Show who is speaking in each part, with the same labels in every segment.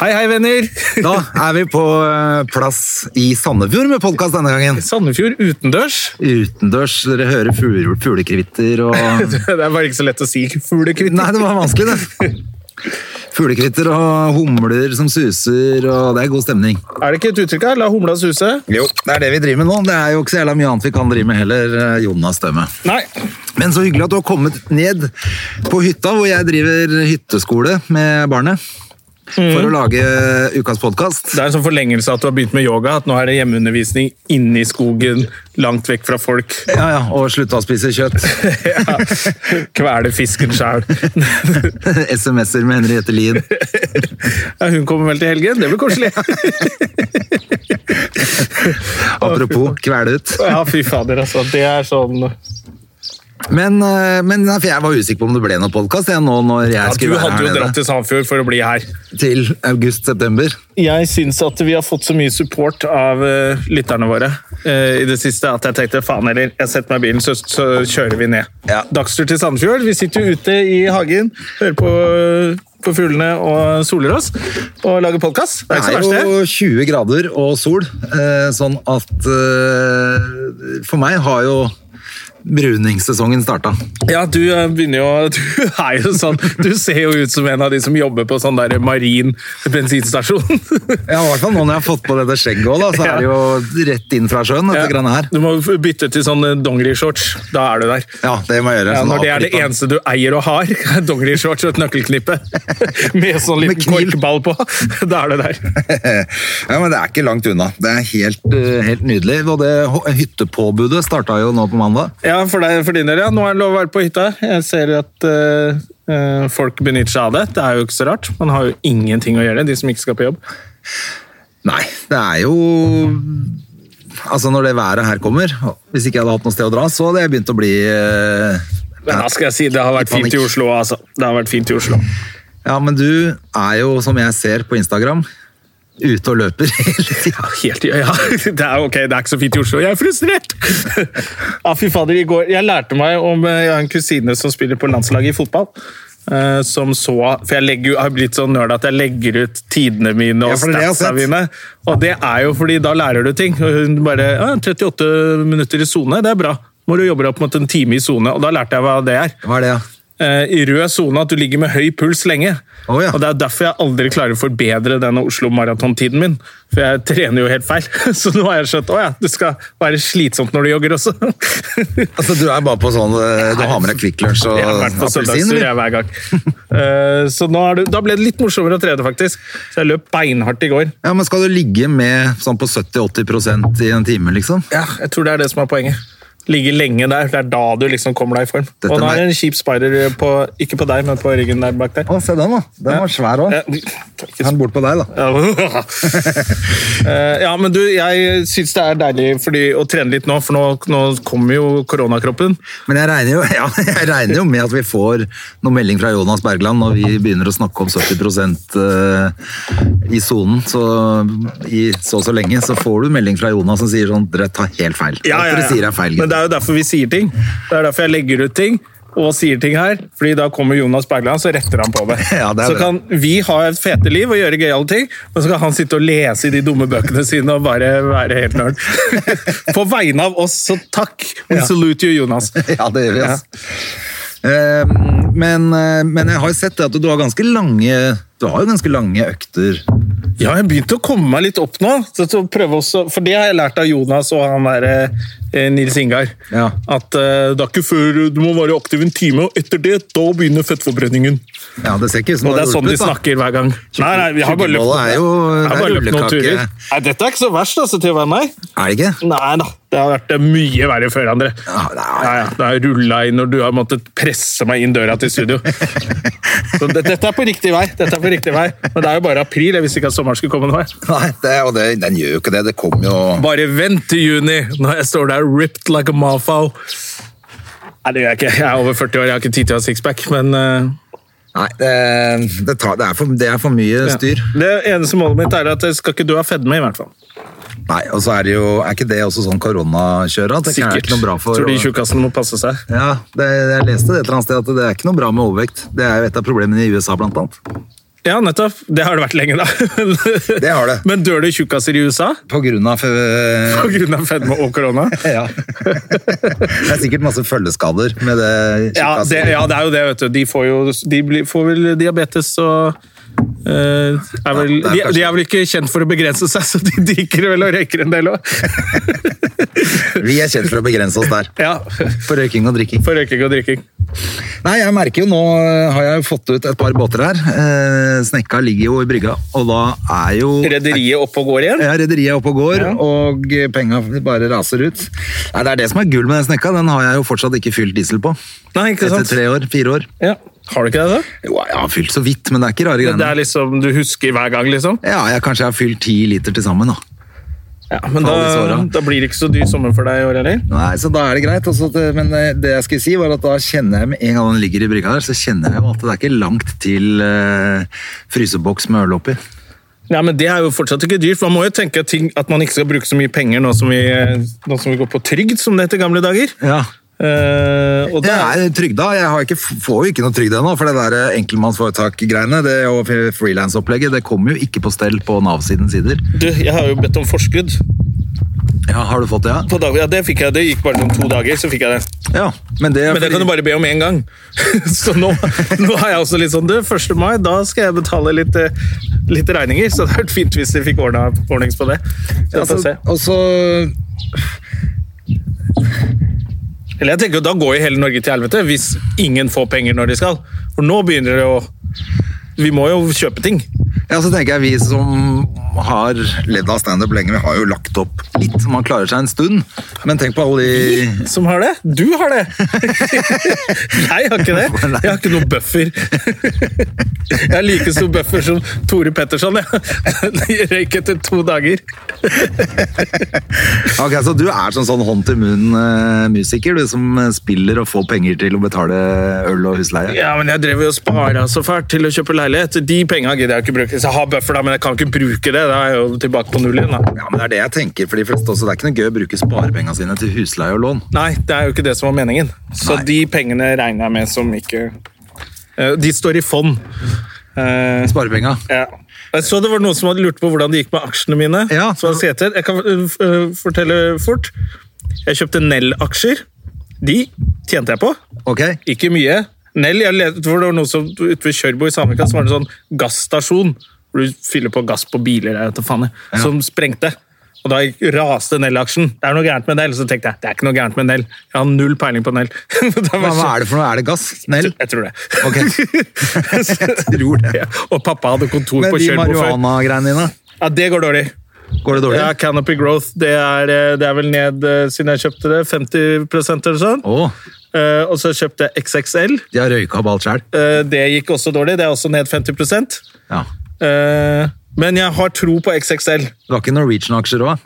Speaker 1: Hei, hei, venner! Da er vi på eh, plass i Sandefjord med podkast denne gangen.
Speaker 2: Sandefjord utendørs.
Speaker 1: Utendørs. Dere hører fugle, fuglekvitter og Nei,
Speaker 2: Det er bare ikke så lett å si fuglekvitt.
Speaker 1: det var vanskelig, det. Fuglekvitter og humler som suser, og det er god stemning.
Speaker 2: Er det ikke et uttrykk her? La humla suse.
Speaker 1: Jo, Det er det vi driver med nå. Det er jo ikke så jævla mye annet vi kan drive med heller, eh, Jonas Støme.
Speaker 2: Nei.
Speaker 1: Men så hyggelig at du har kommet ned på hytta, hvor jeg driver hytteskole med barnet. For å lage ukas podkast.
Speaker 2: Det er en sånn forlengelse at du har begynt med yoga, at nå er det hjemmeundervisning inne i skogen, langt vekk fra folk.
Speaker 1: Ja, ja, og slutta å spise kjøtt.
Speaker 2: Ja. Kvele fisken sjæl.
Speaker 1: SMS-er med Henriette Lien.
Speaker 2: Ja, hun kommer vel til helgen? Det blir koselig.
Speaker 1: Apropos kvele ut.
Speaker 2: Ja, fy fader, altså. Det er sånn
Speaker 1: Men, eh, men nei, for jeg var usikker på om det ble noen podkast nå når jeg
Speaker 2: ja, Du
Speaker 1: skulle være
Speaker 2: hadde jo
Speaker 1: her
Speaker 2: dratt
Speaker 1: nede
Speaker 2: til Sandfjord for å bli her.
Speaker 1: til august-september.
Speaker 2: Jeg syns at vi har fått så mye support av eh, lytterne våre eh, i det siste at jeg tenkte faen heller, jeg setter meg i bilen, så, så kjører vi ned.
Speaker 1: Ja.
Speaker 2: Dagstur til Sandfjord. Vi sitter jo ute i hagen, hører på, på fuglene og soler oss. Og lager podkast.
Speaker 1: Det
Speaker 2: Det er ikke så
Speaker 1: er
Speaker 2: verst, det.
Speaker 1: jo 20 grader og sol, eh, sånn at eh, For meg har jo bruningssesongen starta.
Speaker 2: Ja, du eh, begynner jo å- Du er jo sånn Du ser jo ut som en av de som jobber på sånn der marin bensinstasjon.
Speaker 1: Ja, i hvert fall nå når jeg har fått på dette skjegget òg, så er det jo rett inn fra sjøen. dette greiene her.
Speaker 2: Du må bytte til sånn eh, dongerishorts. Da er du der.
Speaker 1: Ja, det må jeg gjøre.
Speaker 2: Ja,
Speaker 1: sånn
Speaker 2: når det er det
Speaker 1: avklippa.
Speaker 2: eneste du eier og har, dongerishorts og et nøkkelknippe med sånn
Speaker 1: Med
Speaker 2: liten
Speaker 1: kniv.
Speaker 2: korkball på, da er det der.
Speaker 1: ja, men det er ikke langt unna. Det er helt, eh, helt nydelig. Og det h- hyttepåbudet starta jo nå på mandag.
Speaker 2: Ja, for, deg, for din del, ja. Nå er det lov å være på hytta. Jeg ser at eh, eh, folk benytter seg av det. Det er jo ikke så rart. Man har jo ingenting å gjøre, de som ikke skal på jobb.
Speaker 1: Nei, det er jo Altså, når det været her kommer Hvis ikke jeg hadde hatt noe sted å dra, så hadde jeg begynt å bli eh,
Speaker 2: Men altså- da skal jeg si, det har vært
Speaker 1: Litt panikk.
Speaker 2: fint i Oslo, altså. Det har vært fint i Oslo.
Speaker 1: Ja, men du er jo, som jeg ser på Instagram, ute og løper hele tida.
Speaker 2: Helt, ja, ja. Det er ok, det er ikke så fint i Oslo. Jeg er frustrert! Ja, fy fader, i går Jeg lærte meg om eh, Jeg har en kusine som spiller på landslaget i fotball. eh, Som så For jeg, legger, jo- jeg har blitt sånn nerd at jeg legger ut tidene mine og
Speaker 1: Ja, for det er det jeg har
Speaker 2: statsa
Speaker 1: sett.
Speaker 2: mine. Og det er jo fordi da lærer du ting. Og hun bare ja, 38 minutter i sone, det er bra. Må du jobbe deg opp mot en time i sone. Og da lærte jeg hva det er.
Speaker 1: Hva er det, da?
Speaker 2: Eh, I rød sone at du ligger med høy puls lenge.
Speaker 1: Å, ja.
Speaker 2: Og Det er derfor jeg aldri klarer å forbedre denne Oslo Maraton-tiden min. For jeg trener jo helt feil. Så nå har jeg skjønt å ja, det skal være slitsomt når du jogger også.
Speaker 1: Altså, du er bare på sånn eh, Du har med deg Kvikk Lunsj og
Speaker 2: Jeg har vært på
Speaker 1: appelsin,
Speaker 2: søndagstur
Speaker 1: eller?
Speaker 2: jeg, hver gang. Eh, Så nå er det, da ble det litt morsommere å trene, faktisk. Så jeg løp beinhardt i går.
Speaker 1: Ja, men skal du ligge med sånn på 70-80 i en time, liksom?
Speaker 2: Ja, jeg tror det er det som er poenget. Ligge lenge der. Det er da du liksom kommer deg i form.
Speaker 1: Dette
Speaker 2: og nå er
Speaker 1: meg-
Speaker 2: det en kjip spider på, ikke på deg, men på ryggen der bak der. Eh,
Speaker 1: Å, se den, da. Den var svær òg.
Speaker 2: Ja, takk.
Speaker 1: Han bort på deg, da.
Speaker 2: Ja. Eh, ja, men du, jeg syns det er deilig fordi, å trene litt nå, for nå, nå kommer jo koronakroppen.
Speaker 1: Men jeg regner, jo, ja, jeg regner jo med at vi får noen melding fra Jonas Bergland når vi begynner å snakke om 70 eh, i sonen. Så i så og så lenge så får du melding fra Jonas som sier sånn Dere tar helt feil. Alt Dere sier er feil.
Speaker 2: Men det er jo derfor vi sier ting. Det er derfor jeg legger ut ting og sier ting her, fordi da kommer Jonas Bergland, så retter han på det.
Speaker 1: Ja, det er
Speaker 2: så
Speaker 1: bra.
Speaker 2: kan vi ha et fete liv og gjøre gøyale ting, men så kan han sitte og lese i de dumme bøkene sine og bare være helt nerd. På vegne av oss, så takk. We salute you, Jonas.
Speaker 1: Ja, det gjør vi, ass. Eh, Men, eh, men jeg har jo sett det at du har ganske lange Du har jo ganske lange økter.
Speaker 2: Ja, jeg begynte å komme meg litt opp nå. Så, så prøve også, for det har jeg lært av Jonas og han der eh, eh, Nils Ingar.
Speaker 1: Ja.
Speaker 2: At eh, det er ikke før du må være aktiv en time, og etter det da begynner fettforbrenningen.
Speaker 1: Ja, det ser ikke ut som
Speaker 2: Og det er
Speaker 1: har
Speaker 2: sånn de
Speaker 1: hjulpet, da.
Speaker 2: snakker hver gang. Nei, nei, vi har bare løpt,
Speaker 1: Tjukkebolle er jo-
Speaker 2: jeg har bare
Speaker 1: det er
Speaker 2: løpt noen
Speaker 1: rullekake.
Speaker 2: turer. Nei, dette er ikke så verst altså, til å være meg.
Speaker 1: Er det ikke?
Speaker 2: Nei da, det har vært eh, mye verre før, André.
Speaker 1: Ja, nei.
Speaker 2: Ja, ja, Da har jeg rulla inn, og du har måttet presse meg inn døra til studio. Så det, dette er på riktig vei. dette er på riktig vei. Men det er jo bare april. Jeg visste ikke at sommeren skulle komme nå. jeg.
Speaker 1: Nei, det, og det, den gjør jo ikke det. Det kommer jo
Speaker 2: Bare vent til juni, når jeg står der ripped like a mafao. Nei, det gjør jeg ikke. Jeg er over 40 år, jeg har ikke tid til å ha sixpack, men eh,
Speaker 1: Nei, det, det, tar, det, er, for, det er for mye
Speaker 2: ja.
Speaker 1: styr.
Speaker 2: Det eneste målet mitt er at jeg skal ikke dø av fedme, i hvert fall.
Speaker 1: Nei, og så er det jo Er ikke det også sånn koronakjøret? at Det ikke er
Speaker 2: Sikkert.
Speaker 1: ikke noe bra for
Speaker 2: Tror de
Speaker 1: å-
Speaker 2: tjukkassene må passe seg.
Speaker 1: Ja, det, jeg leste det et eller annet sted at det er ikke noe bra med overvekt. Det er jo et av problemene i USA, blant annet.
Speaker 2: Ja, nettopp. Det har det vært lenge, da.
Speaker 1: Det har det.
Speaker 2: Men dør det tjukkaser i USA?
Speaker 1: På grunn av øh,
Speaker 2: På grunn av fedme og korona?
Speaker 1: Ja. det er sikkert masse følgeskader med det.
Speaker 2: Ja det, ja, det er jo det, vet du. De får, jo, de blir, får vel diabetes og eh, er vel,
Speaker 1: Ja, det er
Speaker 2: de,
Speaker 1: kanskje-
Speaker 2: de er vel ikke kjent for å begrense seg, så de drikker vel og røyker en del òg.
Speaker 1: Vi er kjent for å begrense oss der.
Speaker 2: ja.
Speaker 1: For røyking og drikking.
Speaker 2: For røyking og drikking.
Speaker 1: Nei, jeg merker jo nå øh, har jeg jo fått ut et par båter her. Eh, Snekka ligger jo i brygga, og da er jo
Speaker 2: Rederiet opp og går igjen?
Speaker 1: Ja, rederiet er oppe og går, og penga bare raser ut. Nei, Det er det som er gull med den snekka. Den har jeg jo fortsatt ikke fylt diesel på.
Speaker 2: Nei, ikke
Speaker 1: Etter
Speaker 2: sant?
Speaker 1: tre år, fire år.
Speaker 2: Ja. Har du ikke det, da?
Speaker 1: Jo, jeg har fylt så vidt, men det er ikke rare
Speaker 2: Det
Speaker 1: greiene.
Speaker 2: er liksom, Du husker hver gang, liksom?
Speaker 1: Ja, jeg kanskje jeg har fylt ti liter til sammen, da.
Speaker 2: Ja, Men
Speaker 1: Alle disse
Speaker 2: da,
Speaker 1: årene.
Speaker 2: da blir det ikke så dyr sommer for deg i år heller?
Speaker 1: Nei, så da er det greit. altså, det- men eh, det jeg skulle si, var at da kjenner jeg med en gang den ligger i brygga der, så kjenner jeg jo at det er ikke langt til eh, fryseboks med øl oppi.
Speaker 2: Ja, men Det er jo fortsatt ikke dyrt. Man må jo tenke at, ting, at man ikke skal bruke så mye penger nå som vi, eh, nå som vi går på trygd, som det het i gamle dager.
Speaker 1: Ja.
Speaker 2: Eh, og det
Speaker 1: Jeg
Speaker 2: er,
Speaker 1: er trygda. Jeg har ikke, får jo ikke noe trygd ennå, for det der eh, enkeltmannsforetak-greiene det og frilansopplegget, det kommer jo ikke på stell på Nav-sidens sider.
Speaker 2: du, jeg har jo bedt om forskudd.
Speaker 1: Ja, har du fått det, ja?
Speaker 2: På dag, ja, det fikk jeg. Det gikk bare sånn to dager, så fikk jeg det.
Speaker 1: Ja, men det,
Speaker 2: Men det kan du bare be om én gang. Så nå, nå er jeg også litt sånn Du, 1. mai, da skal jeg betale litt, eh, litt regninger. Så det hadde vært fint hvis de fikk ordna ordnings på det. Så får vi
Speaker 1: altså,
Speaker 2: se.
Speaker 1: Og så
Speaker 2: Eller jeg tenker jo, Da går jo hele Norge til helvete hvis ingen får penger når de skal. For nå begynner det å Vi må jo kjøpe ting.
Speaker 1: ja, så tenker jeg vi som har levd av standup lenge, vi har jo lagt opp litt. Man klarer seg en stund, men tenk på alle de
Speaker 2: Som har det? Du har det! Jeg har ikke det. Jeg har ikke noe buffer. Jeg har like stor buffer som Tore Petterson. Jeg røyk etter to dager.
Speaker 1: Ok, Så du er sånn, sånn hånd til munn-musiker, du som eh, spiller og får penger til å betale øl og husleie?
Speaker 2: Ja, men jeg drev jo og spara så fælt til å kjøpe leilighet. De penga gidder jeg ikke bruke. Så jeg har buffer, da, men jeg kan ikke bruke det. Da er jeg jo tilbake på null igjen. da.
Speaker 1: Ja, men Det er det jeg tenker for de fleste også. Det er ikke noe gøy å bruke sparepengene sine til husleie og lån.
Speaker 2: Nei, det er jo ikke det som var meningen. Så
Speaker 1: Nei.
Speaker 2: de pengene regner jeg med som ikke Eh, De står i fond. Eh,
Speaker 1: Sparepenga.
Speaker 2: Ja. Jeg så det var noen som hadde lurt på hvordan det gikk med aksjene mine.
Speaker 1: Ja.
Speaker 2: Som jeg, sier til. jeg kan øh, øh, fortelle fort. Jeg kjøpte Nell-aksjer. De tjente jeg på.
Speaker 1: Ok?
Speaker 2: Ikke mye. Nell, jeg lette for det var noe som ute ved Kjørbo i Samvika, så var det en sånn gasstasjon hvor du fyller på gass på biler, jeg vet da faen, jeg, som sprengte. Og da gikk- raste Nell-aksjen. Det er noe gærent med Nell. Så tenkte jeg det er ikke noe gærent med Nell. Jeg har null peiling på Nell.
Speaker 1: Hva, hva er det for noe? Er det gass? Snell?
Speaker 2: Jeg tror det.
Speaker 1: Ok. Jeg tror det.
Speaker 2: Ja, Og pappa hadde kontor
Speaker 1: Men
Speaker 2: på
Speaker 1: de
Speaker 2: Kjørbo før.
Speaker 1: marihuana-greiene dine,
Speaker 2: Ja, det går dårlig.
Speaker 1: går det dårlig?
Speaker 2: Ja, Canopy Growth det er, eh, det er vel ned eh, siden jeg kjøpte det. 50 eller sånn.
Speaker 1: Å,
Speaker 2: Eh, og så kjøpte jeg XXL.
Speaker 1: de har røyka opp alt sjøl.
Speaker 2: Eh, det gikk også dårlig. Det er også ned 50
Speaker 1: Ja.
Speaker 2: eh, Men jeg har tro på XXL.
Speaker 1: Du har ikke Norwegian-aksjer òg?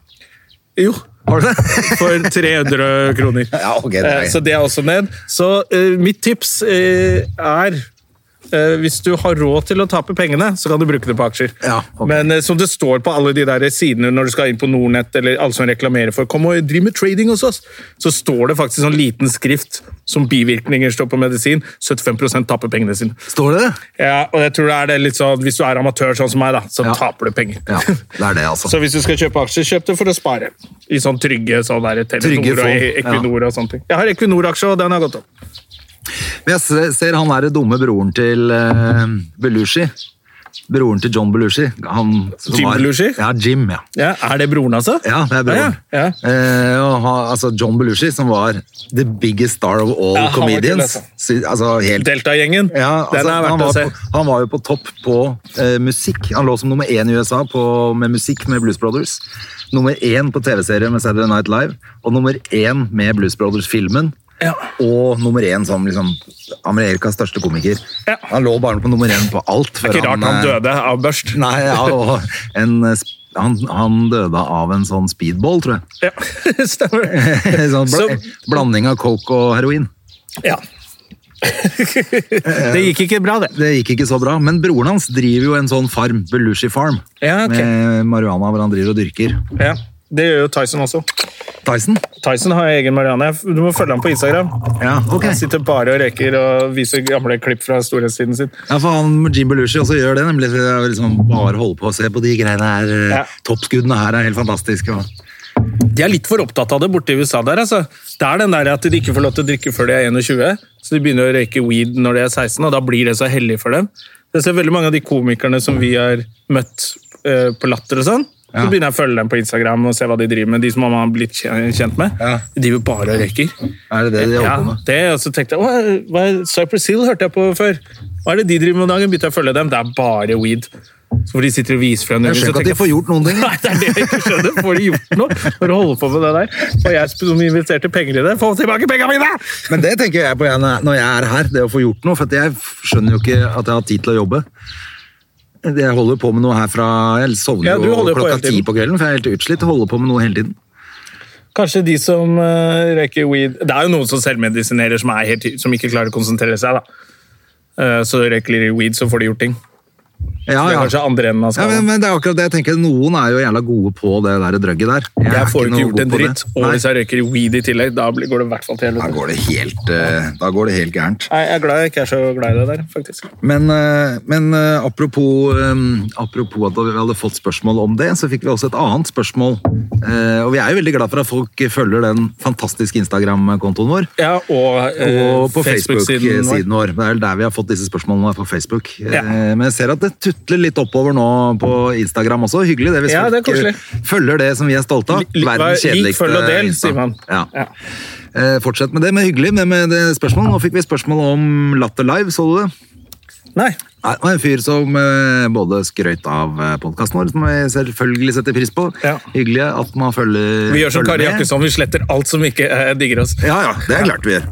Speaker 2: Jo,
Speaker 1: Har du det?
Speaker 2: for 300 kroner.
Speaker 1: Ja, ok, det er-
Speaker 2: Eh, så det er også ned. Så eh, mitt tips eh, er eh, hvis du har råd til å tape pengene, så kan du bruke det på aksjer.
Speaker 1: Ja, ok.
Speaker 2: Men eh, som det står på alle de der sidene når du skal inn på Nordnett, eller alle som reklamerer for 'kom og driv med trading hos oss', så står det faktisk sånn liten skrift som bivirkninger står på medisin. 75 taper pengene sine.
Speaker 1: Står det det?
Speaker 2: Ja, og jeg tror det er det litt sånn, Hvis du er amatør sånn som meg, da, så
Speaker 1: Ja.
Speaker 2: taper du penger.
Speaker 1: Ja, det er det, altså.
Speaker 2: Så hvis du skal kjøpe aksjer, kjøp det for å spare. I sånn trygge sånn der, Telenor
Speaker 1: Trygge fond,
Speaker 2: og Equinor og sånne ting. Jeg har Equinor-aksje, og den har gått opp.
Speaker 1: Men jeg ser- ser han er den dumme broren til eh, Belushi. broren til John Belushi. Han, som
Speaker 2: Jim Belushi?
Speaker 1: Ja, Jim, ja.
Speaker 2: Ja, er det broren, altså?
Speaker 1: Ja, det er broren.
Speaker 2: Ja, ja.
Speaker 1: Eh, og han- altså John Belushi, som var the biggest star of all
Speaker 2: Ja, han var kul,
Speaker 1: comedians.
Speaker 2: altså.
Speaker 1: Sy- altså, helt
Speaker 2: Delta-gjengen.
Speaker 1: ja, altså,
Speaker 2: Den er
Speaker 1: han,
Speaker 2: verdt å
Speaker 1: var
Speaker 2: se.
Speaker 1: på, han var jo på topp på eh, musikk. Han lå som nummer én i USA på, med musikk med Blues Brothers. Nummer én på TV-serie med Saturday Night Live, og nummer én med Blues Brothers-filmen.
Speaker 2: Ja.
Speaker 1: Og nummer én som liksom, Amerikas største komiker.
Speaker 2: Ja.
Speaker 1: Han lå bare på nummer én på alt.
Speaker 2: Det er ikke rart han
Speaker 1: eh,
Speaker 2: døde av børst.
Speaker 1: Nei, ja, og en, eh, sp- han, han døde av en sånn speedball, tror jeg.
Speaker 2: Ja, stemmer.
Speaker 1: sånn bla,
Speaker 2: Så-
Speaker 1: Blanding av coke og heroin.
Speaker 2: Ja. det gikk ikke bra, det.
Speaker 1: Det gikk ikke så bra, men broren hans driver jo en sånn farm, Belushi Farm,
Speaker 2: Ja, ok.
Speaker 1: med marihuana hvor han driver og dyrker.
Speaker 2: Ja. Det gjør jo Tyson også.
Speaker 1: Tyson?
Speaker 2: Tyson har egen Marianne. Du må følge ham på Instagram.
Speaker 1: Ja, ok.
Speaker 2: Han sitter bare og røyker og viser gamle klipp fra storhetstiden sin.
Speaker 1: Ja, for han Jim Belushi også gjør det, nemlig. så det er liksom bare holde på og se på de greiene her. eh,
Speaker 2: Ja.
Speaker 1: Toppskuddene her er helt fantastiske. og-
Speaker 2: De er litt for opptatt av det borte i USA der. altså. Det er den der at de ikke får lov til å drikke før de er 21, så de begynner å røyke weed når de er 16, og da blir det så hellig for dem. Jeg ser veldig mange av de komikerne som vi har møtt eh, på Latter og sånn. Så
Speaker 1: Ja.
Speaker 2: begynner jeg å følge dem på Instagram og se hva de driver med. De som man har blitt kjen- kjent med.
Speaker 1: Ja.
Speaker 2: De driver bare og røyker.
Speaker 1: Er det det de holder på
Speaker 2: Ja,
Speaker 1: med?
Speaker 2: det, og så tenkte jeg, «Åh, hva er, Cypress Hill hørte jeg på før. Hva er det de driver med om dagen? Begynte jeg å følge dem, det er bare weed. Så hvor de sitter og viser frem.
Speaker 1: Jeg skjønner ikke at de får gjort noen ting.
Speaker 2: Nei, det er det jeg ikke skjønner. Får de gjort noe for å holde på med det der? Og jeg som investerte penger i det, få tilbake pengene mine!
Speaker 1: Men det tenker jeg på igjen når jeg er her, det å få gjort noe. For at jeg skjønner jo ikke at jeg har tid til å jobbe. Jeg holder på med noe her fra Jeg sovner
Speaker 2: Ja, du
Speaker 1: jo
Speaker 2: holder på hele
Speaker 1: klokka ti
Speaker 2: tiden.
Speaker 1: på kvelden, for jeg er helt utslitt. og Holder på med noe hele tiden.
Speaker 2: Kanskje de som eh, røyker weed Det er jo noen som selvmedisinerer som, er helt, som ikke klarer å konsentrere seg. da. Eh, så røyker de weed, så får de gjort ting.
Speaker 1: Ja,
Speaker 2: Det er
Speaker 1: ja.
Speaker 2: kanskje andre enden av
Speaker 1: Ja, men,
Speaker 2: skalaen.
Speaker 1: men det er akkurat det jeg tenker. Noen er jo jævla gode på det der drøgget der. er
Speaker 2: Jeg får jo ikke
Speaker 1: noe
Speaker 2: gjort
Speaker 1: god
Speaker 2: en
Speaker 1: på det.
Speaker 2: dritt, og
Speaker 1: Nei.
Speaker 2: hvis jeg røyker weed i tillegg, da blir- går det i hvert fall til
Speaker 1: Da
Speaker 2: helvete.
Speaker 1: går det helt, eh, da går det helt gærent.
Speaker 2: Nei, jeg er glad jeg ikke er så glad i det der, faktisk.
Speaker 1: Men, eh, men eh, apropos, eh, apropos at vi hadde fått spørsmål om det, så fikk vi også et annet spørsmål. Eh, Og vi er jo veldig glad for at folk følger den fantastiske Instagram-kontoen vår.
Speaker 2: Ja, og,
Speaker 1: Og på
Speaker 2: Eh, Facebook-siden
Speaker 1: Facebook-siden vår. Det er vel der vi har fått disse spørsmålene på Facebook.
Speaker 2: Ja.
Speaker 1: Eh, Men jeg ser at det tutler litt oppover nå på Instagram også. Hyggelig det hvis
Speaker 2: Ja, det er
Speaker 1: folk
Speaker 2: koselig.
Speaker 1: eh, følger det som vi er stolte av.
Speaker 2: Lik- lik-
Speaker 1: Verdens kjedeligste
Speaker 2: lik, følg og del,
Speaker 1: Insta.
Speaker 2: sier man.
Speaker 1: Ja.
Speaker 2: Ja.
Speaker 1: Eh, Fortsett med det, men hyggelig med, med det spørsmålet. Nå fikk vi spørsmål om Latter Live, så du det?
Speaker 2: Nei.
Speaker 1: Nei, det var en fyr som eh, både skrøt av podkasten vår, som vi selvfølgelig setter pris på.
Speaker 2: Ja.
Speaker 1: Hyggelig at man følger
Speaker 2: Vi gjør som
Speaker 1: følger
Speaker 2: Kari
Speaker 1: med.
Speaker 2: Jakkesson, vi sletter alt som ikke eh, digger oss.
Speaker 1: Ja, ja, det er klart vi gjør.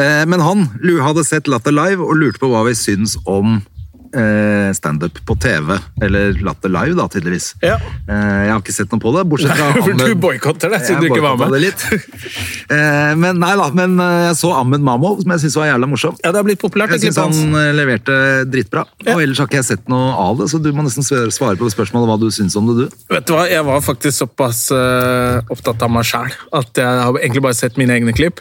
Speaker 1: Eh, men han lu- hadde sett Latter Live og lurte på hva vi syns om eh, standup på TV. Eller Latter Live, da, tydeligvis.
Speaker 2: Ja.
Speaker 1: Eh, jeg har ikke sett noe på det, bortsett fra
Speaker 2: For
Speaker 1: Ahmed-
Speaker 2: du boikotter det,
Speaker 1: Jeg
Speaker 2: siden du ikke var
Speaker 1: boykottet
Speaker 2: med.
Speaker 1: det litt. Eh, men nei da, men eh, jeg så Ahmed Mamov, som jeg syns var jævla morsom.
Speaker 2: Ja, det har blitt populært.
Speaker 1: Jeg
Speaker 2: det
Speaker 1: syns
Speaker 2: klippet hans.
Speaker 1: han eh, leverte dritbra, og ellers har ikke jeg sett noe av det, så du må nesten svare svare på spørsmålet hva du syns om det, du.
Speaker 2: Vet du hva, Jeg var faktisk såpass eh, opptatt av meg sjæl at jeg har egentlig bare sett mine egne klipp.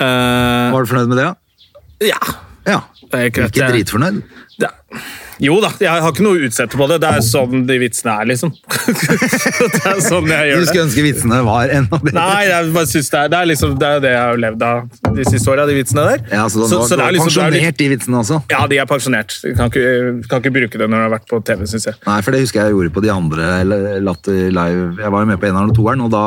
Speaker 2: Eh,
Speaker 1: Var du fornøyd med det,
Speaker 2: ja.
Speaker 1: ja?
Speaker 2: Det er ikke
Speaker 1: ja.
Speaker 2: rett,
Speaker 1: Ikke
Speaker 2: jeg-
Speaker 1: dritfornøyd?
Speaker 2: Det. Jo da, jeg har ikke noe å utsette på det. Det er sånn de vitsene er, liksom. det er sånn
Speaker 1: Du
Speaker 2: jeg gjør det.
Speaker 1: skulle ønske vitsene var enda bedre.
Speaker 2: Nei, jeg bare synes det er det er, liksom, det, er det jeg har levd av de siste åra, de vitsene der.
Speaker 1: Ja, altså, så den var,
Speaker 2: det
Speaker 1: var
Speaker 2: er liksom- det er
Speaker 1: pensjonert,
Speaker 2: litt-
Speaker 1: de vitsene også.
Speaker 2: Ja, de er pensjonert. De Kan ikke, kan ikke bruke det når de har vært på TV, syns jeg.
Speaker 1: Nei, for det husker jeg jeg gjorde på de andre eller Latter Live. Jeg var jo med på eneren og toeren, og da,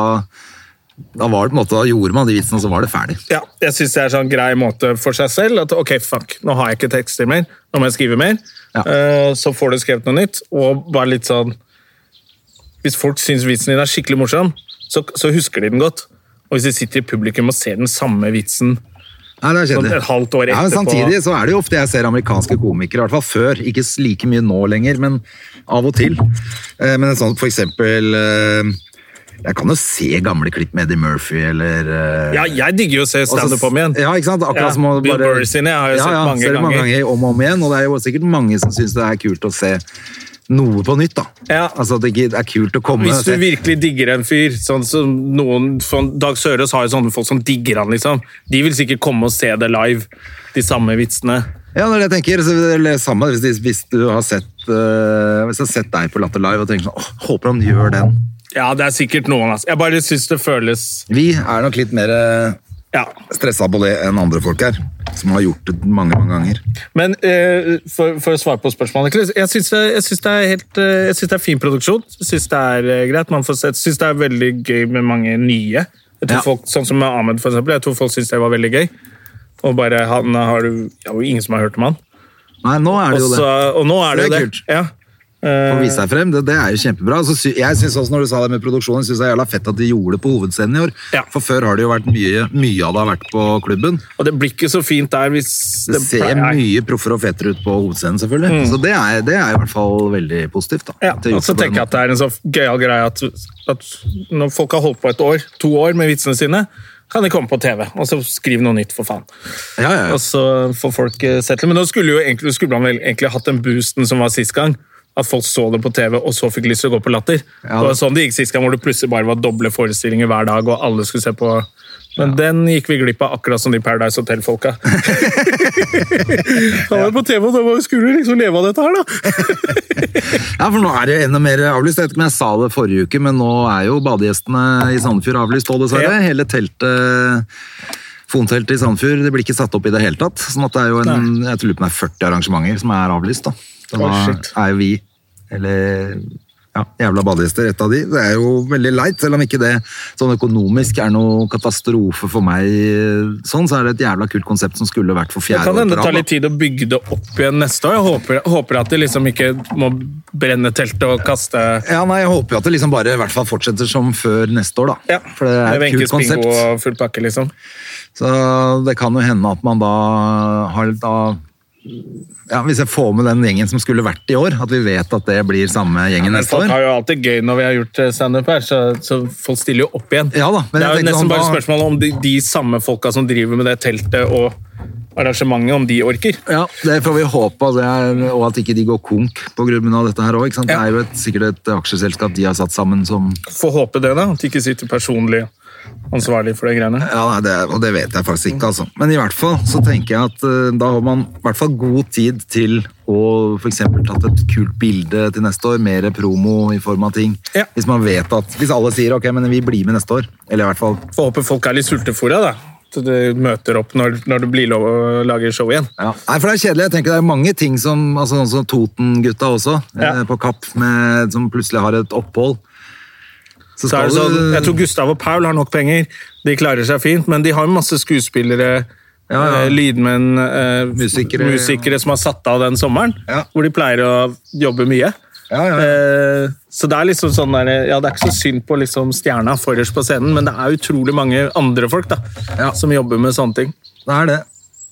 Speaker 1: da var det på en måte, da gjorde man de vitsene, og så var det ferdig.
Speaker 2: Ja, jeg synes det er sånn grei måte for seg selv. At ok, fuck, nå har jeg ikke tekster mer. Nå må jeg skrive mer.
Speaker 1: Ja.
Speaker 2: Eh, så får du skrevet noe nytt. Og bare litt sånn Hvis folk syns vitsen din er skikkelig morsom, så, så husker de den godt. Og hvis de sitter i publikum og ser den samme vitsen
Speaker 1: Nei, det er kjedelig.
Speaker 2: Sånn et halvt år
Speaker 1: Ja, men
Speaker 2: etterpå.
Speaker 1: samtidig så er det jo ofte jeg ser amerikanske komikere, i hvert fall før, ikke s- like mye nå lenger, men av og til. Eh, Men en sånn, for eksempel, eh, jeg kan jo se gamle klipp med Eddie Murphy, eller... eh,
Speaker 2: Ja, jeg digger jo å se
Speaker 1: Og så-
Speaker 2: standup om igjen.
Speaker 1: Ja, ikke sant? Akkurat
Speaker 2: Ja,
Speaker 1: som å
Speaker 2: Bill
Speaker 1: bare...
Speaker 2: Burr sine jeg har
Speaker 1: ja,
Speaker 2: jeg sett
Speaker 1: ja,
Speaker 2: mange
Speaker 1: ser det
Speaker 2: ganger.
Speaker 1: mange ganger om og om igjen, og det er jo sikkert mange som synes det er kult å se noe på nytt, da.
Speaker 2: Ja.
Speaker 1: Altså at det ikke er kult å komme...
Speaker 2: Hvis du
Speaker 1: se-
Speaker 2: virkelig digger en fyr, sånn som noen sånn, Dag Sørås har jo sånne folk som digger han, liksom. De vil sikkert komme og se det live, de samme vitsene.
Speaker 1: Ja, når jeg tenker, så det er det samme hvis, de- hvis du har sett, eh, hvis jeg har sett deg på Latter Live og tenker sånn, åh, håper han gjør den.
Speaker 2: Ja, det er sikkert noen, altså. Jeg bare syns det føles
Speaker 1: Vi er nok litt mer eh,
Speaker 2: Ja.
Speaker 1: stressa på det enn andre folk her, som har gjort det mange, mange ganger.
Speaker 2: Men eh, for, for å svare på spørsmålet Chris, Jeg syns det, jeg synes det, er helt, eh, jeg synes det er fin produksjon. Jeg syns det er eh, greit. Man får, se- jeg syns det er veldig gøy med mange nye. Jeg tror
Speaker 1: Ja.
Speaker 2: folk, sånn som Ahmed, for eksempel. Jeg tror folk syns det var veldig gøy. Og bare, han har du, ja, det er jo ingen som har hørt om han.
Speaker 1: Nei, nå er det jo
Speaker 2: Og
Speaker 1: det.
Speaker 2: så- og nå er det jo
Speaker 1: Det er
Speaker 2: det.
Speaker 1: kult.
Speaker 2: Ja.
Speaker 1: Å vise seg frem, det, det er jo kjempebra. Altså, sy jeg synes også Når du sa det med produksjonen, synes jeg er jævla fett at de gjorde det på hovedscenen i år.
Speaker 2: Ja.
Speaker 1: For før har det jo vært mye Mye av det har vært på klubben.
Speaker 2: Og det blir ikke så fint der hvis
Speaker 1: Det, ser
Speaker 2: pleier- Mm.
Speaker 1: mye proffere og fetere ut på hovedscenen, selvfølgelig. Så det er, det er i hvert fall veldig positivt. da.
Speaker 2: Ja,
Speaker 1: At de har gjort det
Speaker 2: og så
Speaker 1: på den
Speaker 2: tenker jeg at det er en så gøyal greie at, at når folk har holdt på et år, to år med vitsene sine, kan de komme på TV, og så skrive noe nytt, for faen.
Speaker 1: måten. Ja, ja, ja.
Speaker 2: Og så får folk eh, sett det. Men nå skulle, jo egentlig, skulle man vel egentlig hatt den boosten som var sist gang. At folk så det på TV og så fikk lyst til å gå på Latter.
Speaker 1: Ja,
Speaker 2: det var
Speaker 1: det-
Speaker 2: sånn det gikk sist gang, hvor det plutselig bare var doble forestillinger hver dag. og alle skulle se på... Men den gikk vi glipp av, akkurat som de Paradise Hotel-folka. Han var jo på TV, og da var- skulle du liksom leve av dette her, da!
Speaker 1: Ja, for nå er det jo enda mer avlyst. Jeg vet ikke om jeg sa det forrige uke, men nå er jo badegjestene i Sandefjord avlyst òg, dessverre.
Speaker 2: Ja.
Speaker 1: Hele teltet Fonteltet i Sandefjord det blir ikke satt opp i det hele tatt. sånn at det er jo en, jeg tror det er 40 arrangementer som er avlyst. da. Så
Speaker 2: Oi,
Speaker 1: da
Speaker 2: shit.
Speaker 1: er jo vi, eller ja, jævla badegjester, et av de. Det er jo veldig leit, selv om ikke det sånn økonomisk er noe katastrofe for meg. Sånn, så er det et jævla kult konsept som skulle vært for
Speaker 2: Det
Speaker 1: fjerde
Speaker 2: kan
Speaker 1: år
Speaker 2: hende
Speaker 1: på
Speaker 2: det tar
Speaker 1: rad.
Speaker 2: litt
Speaker 1: da.
Speaker 2: tid å bygge det opp igjen neste år. Jeg håper, håper at de liksom ikke må brenne teltet og kaste
Speaker 1: Ja, nei, Jeg håper jo at det liksom bare i hvert fall fortsetter som før neste år, da.
Speaker 2: ja,
Speaker 1: For det er et
Speaker 2: Wenche
Speaker 1: kult
Speaker 2: Spingo
Speaker 1: konsept.
Speaker 2: og full pakke, liksom.
Speaker 1: Så det kan jo hende at man da har da ja, Hvis jeg får med den gjengen som skulle vært i år, at vi vet at det blir samme gjengen neste
Speaker 2: Folk
Speaker 1: år.
Speaker 2: har jo alltid gøy når vi har gjort eh, standup her, så, så folk stiller jo opp igjen.
Speaker 1: Ja da, men
Speaker 2: det
Speaker 1: jeg
Speaker 2: er jo
Speaker 1: tenkte
Speaker 2: nesten
Speaker 1: sånn,
Speaker 2: bare
Speaker 1: da-
Speaker 2: spørsmålet om de, de samme folka som driver med det teltet og arrangementet, om de orker.
Speaker 1: Ja, Det får vi håpe, altså, jeg- og at ikke de går konk på grunn av dette her òg. Det
Speaker 2: Ja.
Speaker 1: er jo et, sikkert et aksjeselskap de har satt sammen som
Speaker 2: Får håpe det, da. At de ikke sitter personlig ansvarlig for de greiene.
Speaker 1: Ja, nei, det, Og det vet jeg faktisk ikke, altså. Men i hvert fall så tenker jeg at eh, da har man i hvert fall god tid til å f.eks. tatt et kult bilde til neste år. Mer promo i form av ting.
Speaker 2: Ja.
Speaker 1: Hvis man vet at, hvis alle sier ok, men vi blir med neste år, eller i hvert fall
Speaker 2: Får håpe folk er litt sultefòra, da. Så de møter opp når, når det blir lov å lage show igjen.
Speaker 1: Ja. Nei, for det er kjedelig. Jeg tenker det er mange ting som altså, sånn som Toten-gutta også,
Speaker 2: Ja.
Speaker 1: eh, på Kapp, med, som plutselig har et opphold.
Speaker 2: Så er
Speaker 1: skal
Speaker 2: det sånn,
Speaker 1: du-
Speaker 2: jeg tror Gustav og Paul har nok penger. De klarer seg fint, men de har jo masse skuespillere,
Speaker 1: Ja, ja.
Speaker 2: eh, lydmenn, eh,
Speaker 1: Musikere.
Speaker 2: musikere som har satt av den sommeren,
Speaker 1: Ja.
Speaker 2: hvor de pleier å jobbe mye.
Speaker 1: Ja, ja, ja.
Speaker 2: Eh, Så det er liksom sånn der, ja, det er ikke så synd på liksom stjerna forrest på scenen, men det er utrolig mange andre folk da,
Speaker 1: Ja.
Speaker 2: som jobber med sånne ting.
Speaker 1: Det er det.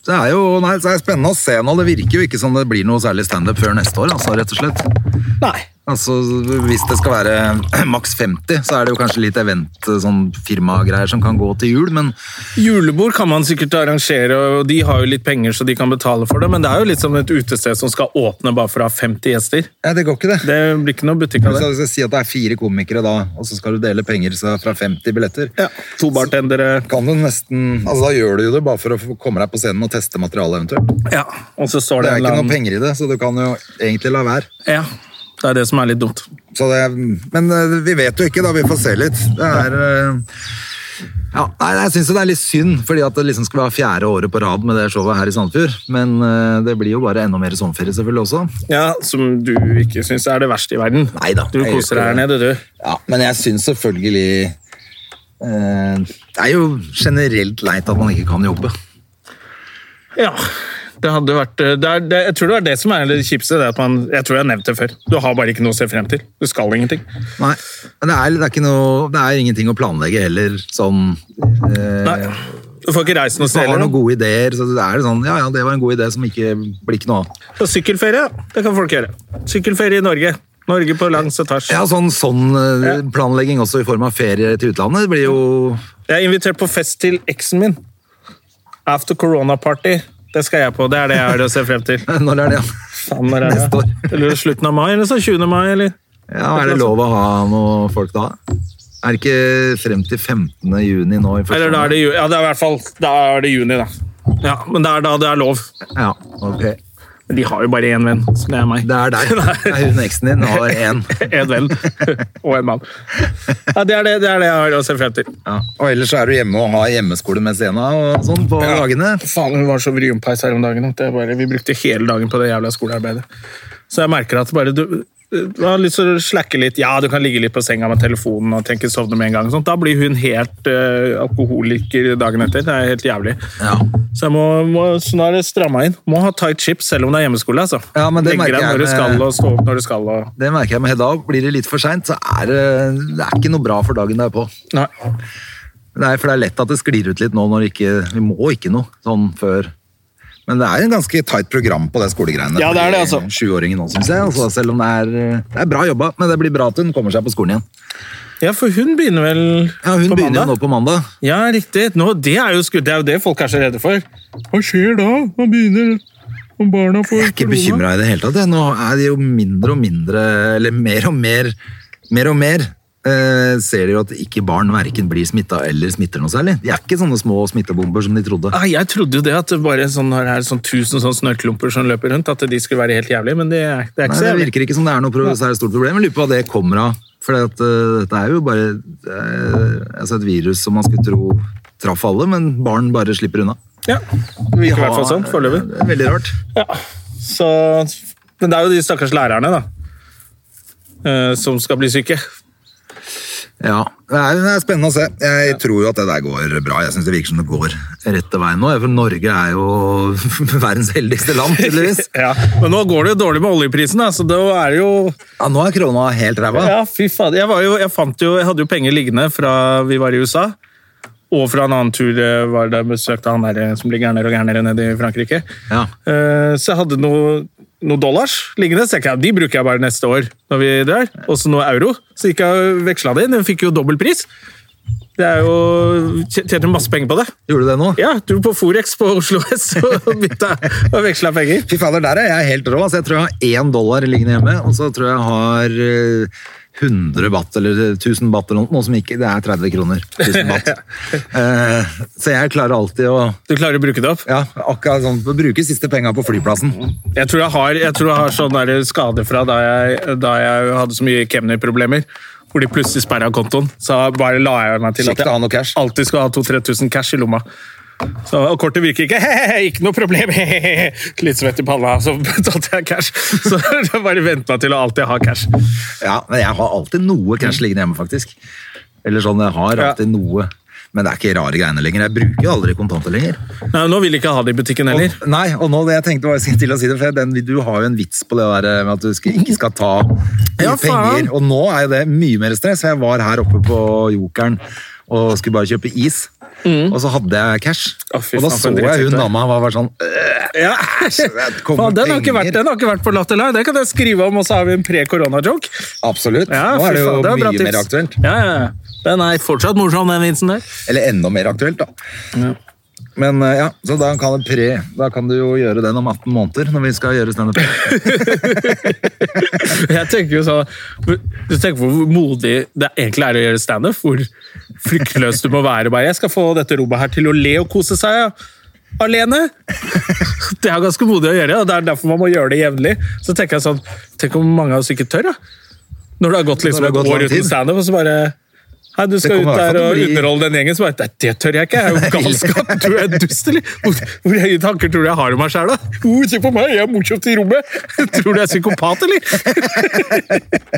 Speaker 1: Det er jo nei, så er det spennende å se nå. Det virker jo ikke som det blir noe særlig standup før neste år, altså, rett og slett.
Speaker 2: Nei.
Speaker 1: Altså, Hvis det skal være maks 50, så er det jo kanskje litt event, sånn firmagreier som kan gå til jul, men
Speaker 2: Julebord kan man sikkert arrangere, og de har jo litt penger så de kan betale for det, men det er jo litt som et utested som skal åpne bare for å ha 50 gjester.
Speaker 1: ja, det går ikke, det.
Speaker 2: Det blir ikke noe butikk av
Speaker 1: Hvis
Speaker 2: det.
Speaker 1: jeg skal si at det er fire komikere da, og så skal du dele penger så fra 50 billetter,
Speaker 2: Ja, to bartendere,
Speaker 1: kan du nesten Altså, da gjør du jo det bare for å få- komme deg på scenen og teste materialet eventuelt.
Speaker 2: ja. og så står
Speaker 1: Det
Speaker 2: det,
Speaker 1: er
Speaker 2: en
Speaker 1: ikke
Speaker 2: eller
Speaker 1: noe
Speaker 2: annen
Speaker 1: penger i det, så du kan jo egentlig la være.
Speaker 2: Ja, det er det som er litt dumt.
Speaker 1: Så det, men eh, vi vet jo ikke, da. Vi får se litt. Det er eh, ja, nei, Jeg syns det er litt synd, fordi at det liksom skal være fjerde året på rad med det showet her i Sandefjord. Men eh, det blir jo bare enda mer sommerferie, selvfølgelig også.
Speaker 2: Ja, Som du ikke syns er det verste i verden.
Speaker 1: Neida,
Speaker 2: Du
Speaker 1: jeg gjør
Speaker 2: koser deg her
Speaker 1: ikke det.
Speaker 2: nede, du.
Speaker 1: Ja, Men jeg syns selvfølgelig eh, Det er jo generelt leit at man ikke kan jobbe.
Speaker 2: Ja, det hadde vært eh, det er, det, Jeg tror det er det som er det kjipeste. Det er at man, jeg tror jeg har nevnt det før. Du har bare ikke noe å se frem til. Du skal ingenting.
Speaker 1: Nei, men det er, det er, ikke noe, det er ingenting å planlegge heller, sånn eh,
Speaker 2: Nei, Du får ikke reist noe
Speaker 1: Hvis man
Speaker 2: sted.
Speaker 1: har
Speaker 2: eller
Speaker 1: noen
Speaker 2: noe.
Speaker 1: gode ideer, så er det sånn Ja, ja, det var en god idé som ikke blir ikke noe av.
Speaker 2: Så Sykkelferie, det kan folk gjøre. Sykkelferie i Norge. Norge på langs etasje.
Speaker 1: Ja, sånn, sånn eh,
Speaker 2: Ja.
Speaker 1: planlegging også i form av ferie til utlandet blir jo
Speaker 2: Jeg er invitert på fest til eksen min. After corona party. Det skal jeg på. Det er det jeg har å se frem til.
Speaker 1: Når er det? ja?
Speaker 2: Faen, når er det?
Speaker 1: Neste år.
Speaker 2: Eller slutten av mai, eller så 20. mai, eller?
Speaker 1: Ja, Er det lov å ha noe folk da? Er det ikke frem til 15. juni nå? I første
Speaker 2: Eller da er det juni. Ja, det er i hvert fall da er det juni, da. Ja, Men det er da det er lov.
Speaker 1: omgang? Ja, ok.
Speaker 2: Men de har jo bare én venn, som er meg.
Speaker 1: Det er deg. Det er hun eksen din har én.
Speaker 2: En venn og en mann. Ja, det, er det, det er det jeg har å se frem til.
Speaker 1: Ja. Og ellers så er du hjemme og har hjemmeskole med Sena og sånn på dagene.
Speaker 2: Faen, hun var så vrionpeis her om dagen at jeg bare, vi brukte hele dagen på det jævla skolearbeidet. Så jeg merker at bare du du har lyst til å slacke litt. Ja, du kan ligge litt på senga med telefonen og tenke sovne med en gang. og Sånt. Da blir hun helt eh, alkoholiker dagen etter. Det er helt jævlig.
Speaker 1: Ja.
Speaker 2: Så jeg må, må snarere stramme meg inn. Må ha tight chips selv om det er hjemmeskole. altså.
Speaker 1: Ja, men det
Speaker 2: Legge
Speaker 1: merker
Speaker 2: deg
Speaker 1: jeg
Speaker 2: når du
Speaker 1: med-
Speaker 2: skal, og stå opp når du skal. og...
Speaker 1: Det merker jeg med Hedda. også. Blir det litt for seint, så er det, det er ikke noe bra for dagen derpå.
Speaker 2: Nei.
Speaker 1: Nei, for det er lett at det sklir ut litt nå når ikke, vi må ikke noe sånn før. Men det er en ganske tight program på det skolegreiene.
Speaker 2: Ja, det er det, altså.
Speaker 1: for Sjuåringen nå, synes jeg. Altså, selv om det er, det er bra jobba, men det blir bra at hun kommer seg på skolen igjen.
Speaker 2: Ja, for hun begynner vel
Speaker 1: Ja, Hun
Speaker 2: på
Speaker 1: begynner jo
Speaker 2: mandag?
Speaker 1: nå på mandag.
Speaker 2: Ja, riktig. Nå, det, er jo sku... det er jo det folk er så redde for. Hva skjer da? Hva begynner om barna får
Speaker 1: Jeg er ikke bekymra i det hele tatt. jeg. Nå er det jo mindre og mindre, eller mer og mer, mer og mer, eh, ser de jo at ikke barn verken blir smitta eller smitter noe særlig. De er ikke sånne små smittebomber som de trodde.
Speaker 2: Ah, jeg trodde jo det at det bare sånn, når det er sånn tusen sånn snørrklumper som løper rundt, at de skulle være helt jævlig, men det er, det er ikke
Speaker 1: Nei,
Speaker 2: så
Speaker 1: det
Speaker 2: jævlig.
Speaker 1: virker ikke som det er noe pro- særlig stort problem. Jeg lurer på hva det kommer av. For det at, eh, dette er jo bare eh, altså et virus som man skulle tro traff alle, men barn bare slipper unna.
Speaker 2: Ja, det virker i hvert fall sånn foreløpig.
Speaker 1: Det er Veldig rart.
Speaker 2: Så, men det er jo de stakkars lærerne, da. eh, Som skal bli syke.
Speaker 1: Ja, det er, det er spennende å se. Jeg tror jo at det der går bra. Jeg synes det virker som det går rette veien nå. For Norge er jo verdens heldigste land, tydeligvis.
Speaker 2: Ja. Men nå går det jo dårlig med oljeprisen, da, så da er det jo
Speaker 1: Ja, nå er krona helt ræva.
Speaker 2: Ja, fy faen. Jeg, var jo, jeg, fant jo, jeg hadde jo penger liggende fra vi var i USA. Og fra en annen tur eh, var det jeg besøkte han der eh, som blir gærnere og gærnere nede i Frankrike.
Speaker 1: Ja.
Speaker 2: Eh, Så jeg hadde noe, noe dollars liggende. Så jeg, tenkte, ja, de bruker jeg bare neste år når vi drar. Og så noe euro. Så gikk jeg og veksla det inn. Den fikk jo dobbel pris. Det er jo, tj- Tjente masse penger på det.
Speaker 1: Gjorde du det nå?
Speaker 2: Ja, du på Forex på Oslo S og bytta og veksla penger.
Speaker 1: Fy fader, der er jeg helt rå. Altså, jeg tror jeg har én dollar liggende hjemme, og så tror jeg jeg har eh, 100 baht eller 1000 baht eller noe, noe som ikke Det er 30 kroner. 1000 baht. Eh, så jeg klarer alltid å
Speaker 2: Du klarer å bruke det opp.
Speaker 1: ja, akkurat sånn, bruke siste penga på flyplassen.
Speaker 2: Jeg tror jeg har, jeg tror jeg har sånn der skade fra da jeg, da jeg hadde så mye kemnerproblemer. Hvor de plutselig sperra kontoen. Så bare la jeg meg til
Speaker 1: Kjekt
Speaker 2: at
Speaker 1: å ha noe
Speaker 2: jeg
Speaker 1: cash.
Speaker 2: alltid skulle ha 2000-3000 cash i lomma. Så, og kortet virker ikke. Hehehe, ikke noe problem! Hehehe. Litt svett i panna, så betalte jeg cash. Så jeg bare vente meg til å alltid ha cash.
Speaker 1: Ja, men jeg har alltid noe cash liggende hjemme, faktisk. Eller sånn, jeg har alltid noe. Men det er ikke rare greiene lenger. Jeg bruker jo aldri kontanter lenger.
Speaker 2: Nei, Nå vil jeg ikke ha det i butikken heller.
Speaker 1: Og, nei, og nå det jeg tenkte var til å si det, for den, du har jo en vits på det der eh, med at du skal, ikke skal ta
Speaker 2: Ja, faen.
Speaker 1: penger. Og nå er jo det mye mer stress. Jeg var her oppe på Jokeren og skulle bare kjøpe is. Og så hadde jeg cash.
Speaker 2: Mm. Å, fy
Speaker 1: og da så
Speaker 2: faen, for en
Speaker 1: jeg
Speaker 2: drittsekk,
Speaker 1: hun
Speaker 2: det.
Speaker 1: dama var bare sånn
Speaker 2: Ja.
Speaker 1: det kommer
Speaker 2: Faen, den, har ikke
Speaker 1: penger.
Speaker 2: vært, den har ikke vært på Latter Live. Den kan jeg skrive om, og så har vi en pre-korona-joke.
Speaker 1: Absolutt.
Speaker 2: Ja,
Speaker 1: nå
Speaker 2: fy
Speaker 1: er det jo
Speaker 2: faen, var bra
Speaker 1: mye
Speaker 2: tips.
Speaker 1: mer aktuelt.
Speaker 2: Ja, ja, ja. Den er fortsatt morsom, den vitsen der.
Speaker 1: Eller enda mer aktuelt, da. Men eh, ja, så da kan, det pre, da kan du jo gjøre den om 18 måneder, når vi skal gjøre standup.
Speaker 2: Jeg tenker jo sånn Du tenker på hvor modig det egentlig er å gjøre standup. Hvor fryktløs du må være. bare, Jeg skal få dette rommet her til å le og kose seg ja. alene. Det er ganske modig å gjøre, og det er derfor man må gjøre det jevnlig. Så tenker jeg sånn Tenk om mange av oss ikke tør, da. Når det har gått liksom
Speaker 1: Når det
Speaker 2: et
Speaker 1: har gått
Speaker 2: år
Speaker 1: lang tid.
Speaker 2: uten standup, og så bare Hei, du skal ut
Speaker 1: kommer i hvert fall
Speaker 2: der og
Speaker 1: til å bli-
Speaker 2: underholde den gjengen. Så bare, Nei, det tør jeg ikke. Jeg er jo galskap. Du er dust, eller? Hvor, hvor høye tanker tror du jeg har om meg sjæl, da? Oh, se på meg, jeg er morsomt i rommet! Tror du jeg er psykopat, eller?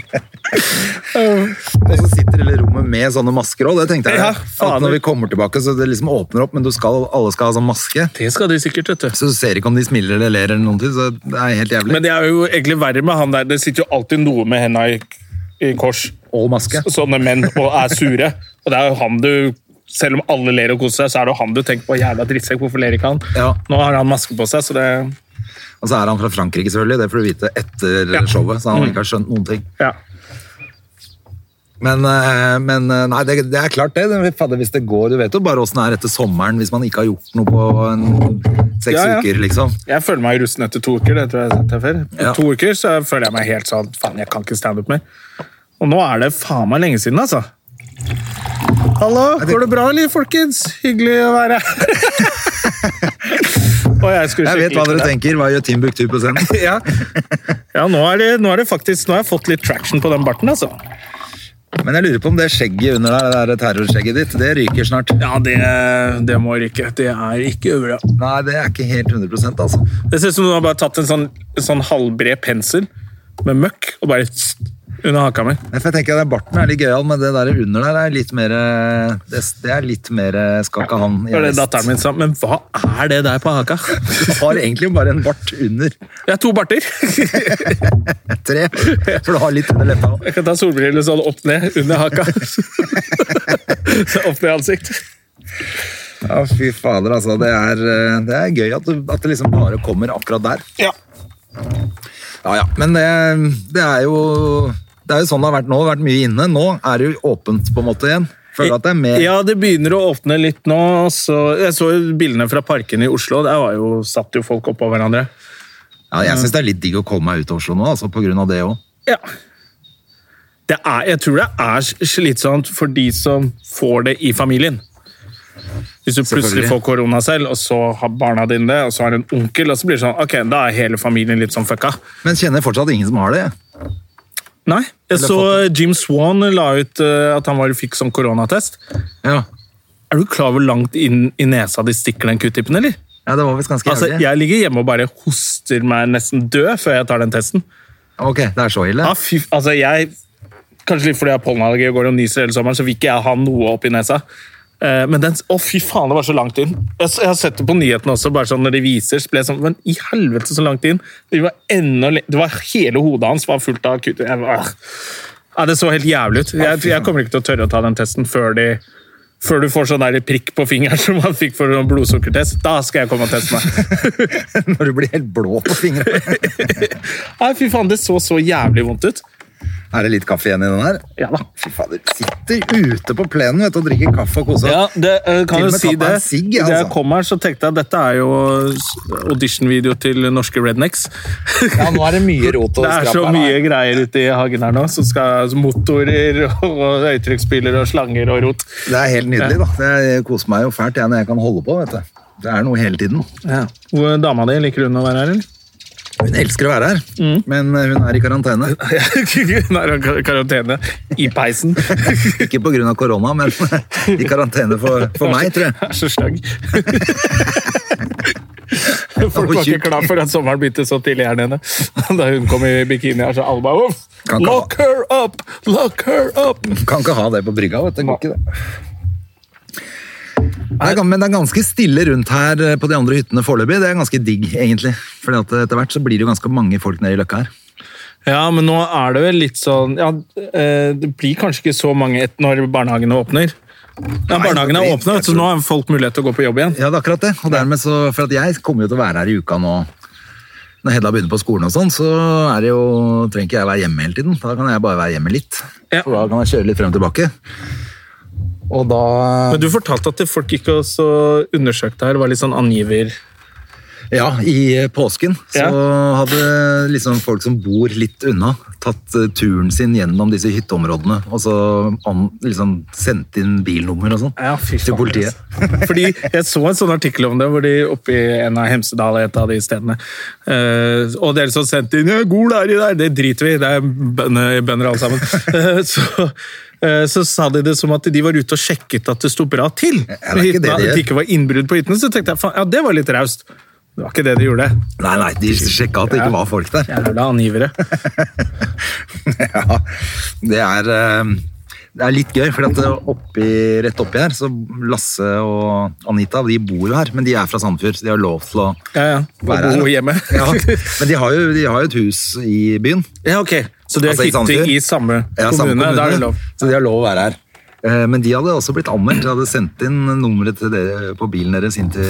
Speaker 1: Og så sitter hele rommet med sånne masker òg. Det tenkte jeg.
Speaker 2: Ja, faen.
Speaker 1: at når vi kommer tilbake, så det liksom åpner opp, men du skal, alle skal ha sånn maske.
Speaker 2: Det skal de sikkert, vet du.
Speaker 1: Så du ser ikke om de smiler eller ler, eller noen ting, så det er helt jævlig.
Speaker 2: Men det er jo egentlig verre med han der. Det sitter jo alltid noe med henda i, i kors.
Speaker 1: Og maske.
Speaker 2: Sånne menn og er sure. Og det er jo han du Selv om alle ler og koser seg, så er det jo han du tenker på. Jævla drittsekk, hvorfor ler ikke han?
Speaker 1: Ja.
Speaker 2: Nå har han maske på seg, så det
Speaker 1: Og så er han fra Frankrike, selvfølgelig. Det får du vite etter
Speaker 2: Ja. Mm.
Speaker 1: showet. Så han ikke har skjønt noen ting.
Speaker 2: Ja.
Speaker 1: Men, eh, men eh, nei, det, det er klart det. det. Fader, hvis det går Du vet jo bare åssen det er etter sommeren hvis man ikke har gjort noe på en, seks
Speaker 2: Ja, ja.
Speaker 1: uker, liksom.
Speaker 2: Jeg føler meg rusten etter to uker. det tror jeg jeg har sagt her før. På
Speaker 1: Ja.
Speaker 2: to uker så føler jeg meg helt sånn Faen, jeg kan ikke standup mer. Og nå er det faen meg lenge siden, altså. Hallo, går det bra, eller, folkens? Hyggelig å være her. Og jeg skulle
Speaker 1: Jeg vet
Speaker 2: sjekke
Speaker 1: hva
Speaker 2: litt
Speaker 1: dere
Speaker 2: med
Speaker 1: tenker. Hva gjør Timbuktu på scenen?
Speaker 2: deg. Ja, ja nå, er det, nå er det faktisk Nå har jeg fått litt traction på den barten, altså.
Speaker 1: Men jeg lurer på om det skjegget under der, det der terrorskjegget ditt, det ryker snart.
Speaker 2: Ja, det, det må ryke. Det er ikke bra.
Speaker 1: Nei, det er ikke helt 100 altså.
Speaker 2: Det ser ut som du har bare tatt en sånn, sånn halvbred pensel med møkk og bare tss, under haka mi.
Speaker 1: Men for jeg tenker at den Barten er litt gøyal, men det der under der er litt mer eh, Det det er litt mer eh, skakka han.
Speaker 2: Det var det datteren min sa. Men hva er det der på haka?
Speaker 1: Du har egentlig bare en bart under.
Speaker 2: Jeg har to barter.
Speaker 1: Tre. For du har litt under leppa òg.
Speaker 2: Jeg kan ta solbriller sånn opp ned under haka. Så opp ned i ansikt.
Speaker 1: Ja, fy fader, altså. Det er, eh, det er gøy at, du, at det liksom bare kommer akkurat der.
Speaker 2: Ja.
Speaker 1: Ja, ja. Men det, det er jo Det er jo sånn det har vært nå. Det har vært mye inne. Nå er det jo åpent på en måte igjen. Føler at det er mer
Speaker 2: Ja, det begynner å åpne litt nå. Så jeg så jo bildene fra parkene i Oslo. Der var jo, satt jo folk oppå hverandre.
Speaker 1: Ja, jeg syns det er litt digg å komme meg ut av Oslo nå, altså, på grunn av det òg.
Speaker 2: Ja. Det er, jeg tror det er slitsomt for de som får det i familien. Hvis du plutselig
Speaker 1: Selvfølgelig.
Speaker 2: får korona selv, og så har barna dine det, og så har du en onkel, og så blir det sånn Ok, da er hele familien litt sånn fucka.
Speaker 1: Men kjenner fortsatt ingen som har det. jeg.
Speaker 2: Nei. Jeg
Speaker 1: Eller
Speaker 2: så Jim Swan la ut eh, at han var, fikk sånn koronatest.
Speaker 1: Ja.
Speaker 2: Er du klar over hvor langt inn i nesa de stikker den q-tippen, eller?
Speaker 1: Ja, det var visst ganske
Speaker 2: Altså,
Speaker 1: jævlig.
Speaker 2: jeg ligger hjemme og bare hoster meg nesten død før jeg tar den testen.
Speaker 1: Ok, det er så ille?
Speaker 2: Ja, fy, altså jeg, kanskje litt fordi jeg har pollenallergi og går og nyser hele sommeren, så vil ikke jeg ha noe opp i nesa. Eh, Men den, å fy faen, det var så langt inn. Jeg, s- jeg har sett det på nyhetene også, bare sånn når de viser, så ble jeg sånn, men i helvete så langt inn. Det var enda, le- det var hele hodet hans var fullt av kutt. Jeg, var- ah. ja, det så helt jævlig ut. Jeg, jeg kommer ikke til å tørre å ta den testen før de før du får sånn der prikk på fingeren som man fikk for en blodsukkertest, da skal jeg komme og teste meg.
Speaker 1: Når du blir helt blå på fingrene.
Speaker 2: Nei, fy faen, det så så jævlig vondt ut.
Speaker 1: Er det litt kaffe igjen i den her?
Speaker 2: Ja da.
Speaker 1: Fy fader, sitter ute på plenen vet du, og drikker kaffe og koser.
Speaker 2: Ja, det eh, kan
Speaker 1: Til og
Speaker 2: jo
Speaker 1: med
Speaker 2: si
Speaker 1: tatt meg
Speaker 2: det.
Speaker 1: en sigg, jeg,
Speaker 2: Da jeg
Speaker 1: altså.
Speaker 2: kom her, så tenkte jeg at dette er jo auditionvideo til norske rednecks.
Speaker 1: Ja, nå er det mye rot
Speaker 2: Det er så mye greier ute i hagen her nå. Som skal, motorer og høytrykksspyler og slanger og rot.
Speaker 1: Det er helt nydelig, da. Det er- Jeg koser meg jo fælt jeg, når jeg kan holde på, vet du. Det er noe hele tiden.
Speaker 2: Hvor- Dama di, liker hun å være her, eller?
Speaker 1: Hun elsker å være her, men eh, hun er i karantene.
Speaker 2: Hun er i kar- karantene i peisen.
Speaker 1: Ikke på grunn av korona, men i karantene for, for meg, tror jeg.
Speaker 2: Er så stygg. Folk
Speaker 1: Å,
Speaker 2: var ikke
Speaker 1: tjukk.
Speaker 2: klar for at sommeren begynte så tidlig her nede. Da hun kom i bikini her, så alle bare "Uff,
Speaker 1: Kan ikke ha-
Speaker 2: Lock her up! Lock her up!
Speaker 1: Kan ikke ha det på brygga, vet du. Det Går ikke det. Det er, gans- men det er ganske stille rundt her eh, på de andre hyttene foreløpig. Det er ganske digg, egentlig. Fordi at eh, etter hvert så blir det jo ganske mange folk nede i løkka her.
Speaker 2: Ja, men nå er det vel litt sånn ja, eh, Det blir kanskje ikke så mange et når barnehagene åpner. Ja,
Speaker 1: Nei,
Speaker 2: barnehagene er
Speaker 1: det-
Speaker 2: åpne,
Speaker 1: jeg
Speaker 2: så
Speaker 1: tror-
Speaker 2: nå har folk mulighet til å gå på jobb igjen.
Speaker 1: Ja, det er akkurat det. Og dermed så, for at jeg kommer jo til å være her i uka nå. Når Hedda begynner på skolen og sånn, så er det jo, trenger ikke jeg være hjemme hele tiden. Da kan jeg bare være hjemme litt.
Speaker 2: Ja.
Speaker 1: For da kan jeg kjøre litt frem og tilbake. Og da...
Speaker 2: Men du fortalte at det folk gikk og så undersøkte her, var litt sånn angiver...
Speaker 1: Ja, i eh, påsken så
Speaker 2: Ja.
Speaker 1: hadde liksom folk som bor litt unna, tatt eh, turen sin gjennom disse hytteområdene, og så an, liksom sendt inn bilnummer og sånn
Speaker 2: Ja, fy
Speaker 1: til
Speaker 2: faen,
Speaker 1: politiet.
Speaker 2: altså. Fordi jeg så en sånn artikkel om det, hvor de oppe i en av Hemsedal et av de stedene eh, Og dere som sendte inn «Ja, 'Gol er i der', det driter vi i, det er bønder bønder alle sammen. Eh, så, eh, så sa de det som at de var ute og sjekket at det sto bra til.
Speaker 1: er ikke det de
Speaker 2: Hyttene-
Speaker 1: gjør.
Speaker 2: at det ikke var innbrudd på hyttene, så tenkte jeg faen, ja, det var litt raust. Det var ikke det de gjorde.
Speaker 1: Nei, nei, de sjekka at det ikke var folk der.
Speaker 2: Jævla angivere.
Speaker 1: Ja, det er... eh, Det er litt gøy, for at eh, oppi, rett oppi her, så Lasse og Anita, de bor jo her, men de er fra Sandfjord, så de har lov til å
Speaker 2: Ja, ja. Å
Speaker 1: være her.
Speaker 2: bo
Speaker 1: da.
Speaker 2: hjemme.
Speaker 1: Ja, men de har, jo, de har jo et hus i byen,
Speaker 2: Ja, ok. Så de har
Speaker 1: Altså, i
Speaker 2: hytte
Speaker 1: Sandefjord?
Speaker 2: i samme
Speaker 1: Ja,
Speaker 2: kommune.
Speaker 1: samme kommune.
Speaker 2: Da er det lov.
Speaker 1: Så de har lov å være her. Eh, Men de hadde også blitt anmeldt. De hadde sendt inn nummeret til dere på bilen deres inn til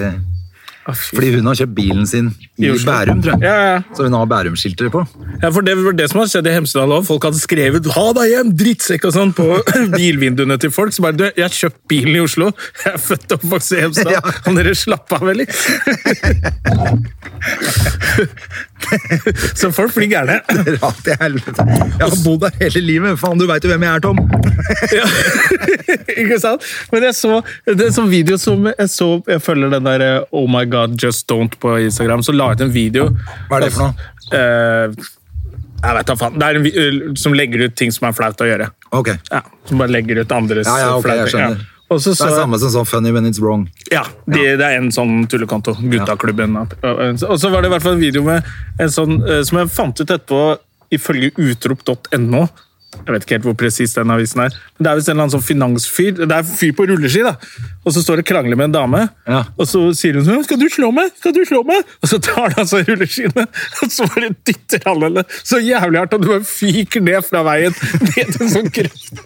Speaker 2: Å, fy
Speaker 1: Fordi hun har kjøpt bilen sin i,
Speaker 2: I Oslo.
Speaker 1: Bærum, tror jeg.
Speaker 2: Ja, ja, ja.
Speaker 1: Så hun har Bærum-skilter på.
Speaker 2: Ja, for Det var det som hadde skjedd i Hemsedal òg. Folk hadde skrevet 'ha deg hjem, drittsekk' og sånn på bilvinduene til folk. Så bare du, 'jeg har kjøpt bilen i Oslo, jeg er født og oppvokst i Hemsedal',
Speaker 1: Ja.
Speaker 2: kan dere slappe av, eller? Så folk blir gærne.
Speaker 1: Dra til helvete. Jeg har bodd der hele livet. Faen, du veit jo hvem jeg er, Tom.
Speaker 2: Ja. ikke sant? Men jeg så det er en sånn video som jeg så Jeg følger den der eh, Oh my God, just don't på Instagram. Så la jeg ut en video.
Speaker 1: Hva er det for noe?
Speaker 2: Eh, jeg vet da faen. Det er en vi eh, som legger ut ting som er flaut å gjøre.
Speaker 1: Ok.
Speaker 2: Ja, som bare legger ut andres
Speaker 1: Ja, ja, ok,
Speaker 2: flaute
Speaker 1: jeg
Speaker 2: ting.
Speaker 1: skjønner.
Speaker 2: Ja. Og så
Speaker 1: Det
Speaker 2: så
Speaker 1: er samme som sånn funny when it's wrong.
Speaker 2: Ja, de, det er en sånn tullekonto. Guttaklubben. Og så var det i hvert fall en video med en sånn eh, som jeg fant ut etterpå, ifølge utrop.no. Jeg vet ikke helt hvor presis den avisen er. Men Det er visst en eller annen sånn finansfyr. Det er en fyr på rulleski, da. Og så står det og krangler med en dame.
Speaker 1: Ja.
Speaker 2: Og så sier hun sånn 'Skal du slå meg?' Skal du slå meg? Og så tar han altså rulleskiene, og så bare dytter han henne så jævlig hardt, og du bare fyker ned fra veien ned til en sånn krøft.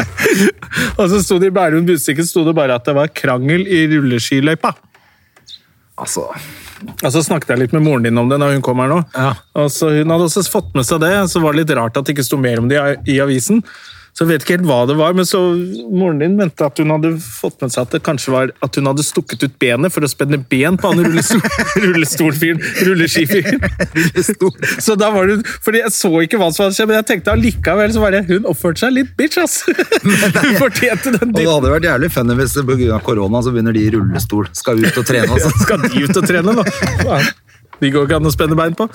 Speaker 2: og så sto det i Bærum Budstikke sto det bare at det var krangel i rulleskiløypa.
Speaker 1: Altså
Speaker 2: Og så snakket jeg litt med moren din om det når hun kom her nå.
Speaker 1: Ja.
Speaker 2: Og så Hun hadde også fått med seg det, så var det litt rart at det ikke sto mer om det i- i avisen. Så jeg vet ikke helt hva det var, men så moren din mente at hun hadde fått med seg at det kanskje var at hun hadde stukket ut benet for å spenne ben på han rullestol, rullestolfyren, rulleskifyren.
Speaker 1: Rullestol.
Speaker 2: Så da var hun, fordi Jeg så ikke hva som hadde skjedd, men jeg tenkte allikevel så var det, hun oppførte seg litt bitch, ass. Hun fortjente
Speaker 1: Og
Speaker 2: den
Speaker 1: det
Speaker 2: dytten.
Speaker 1: hadde vært jævlig funny hvis det på grunn av korona så begynner de i rullestol. Skal ut og trene og sånn.
Speaker 2: Skal de ut og trene, da? Faen. De går ikke an å spenne bein på.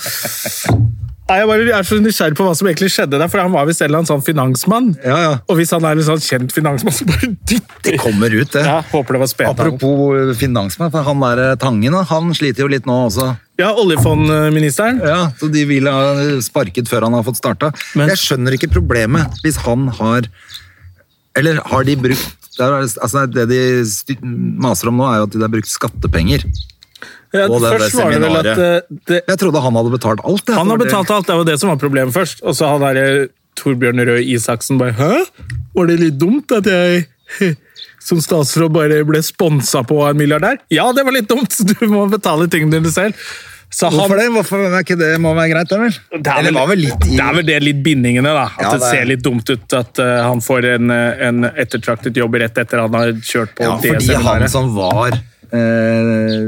Speaker 2: Nei, jeg, bare, jeg er så nysgjerrig på hva som egentlig skjedde der, for han var visst en eller annen sånn finansmann.
Speaker 1: Ja, ja.
Speaker 2: Og hvis han er en sånn kjent finansmann, så bare dytter
Speaker 1: Det kommer ut, det.
Speaker 2: ja, Håper det var spedalen.
Speaker 1: Apropos finansmann, for han der eh, Tangen da, han sliter jo litt nå også.
Speaker 2: Ja, oljefondministeren.
Speaker 1: Ja, Så de vil ha sparket før han har fått starta.
Speaker 2: Men-
Speaker 1: Jeg skjønner ikke problemet hvis han har Eller har de brukt det, er, altså det de sty- maser om nå, er jo at de har brukt skattepenger.
Speaker 2: Ja,
Speaker 1: Og det der
Speaker 2: først var det vel at
Speaker 1: seminaret.
Speaker 2: eh, det,
Speaker 1: Jeg trodde han hadde betalt alt. jeg.
Speaker 2: Han har
Speaker 1: Det var det-
Speaker 2: betalt alt, det var det som var problemet først. Og så han derre Torbjørn Røe Isaksen bare Hæ? Var det litt dumt at jeg som statsråd bare ble sponsa på av en milliardær? Ja, det var litt dumt! så Du må betale tingene dine selv. Så han-
Speaker 1: Hvorfor det? Hvorfor er ikke det må være greit, det vel?
Speaker 2: Det er,
Speaker 1: Eller
Speaker 2: vel,
Speaker 1: var vel litt i
Speaker 2: det er vel det litt bindingene, da. At
Speaker 1: Ja,
Speaker 2: det,
Speaker 1: det er-
Speaker 2: ser litt dumt ut at eh, han får en, eh, en ettertraktet jobb rett etter han har kjørt på
Speaker 1: Ja,
Speaker 2: det
Speaker 1: fordi han
Speaker 2: seminaret.
Speaker 1: som var eh,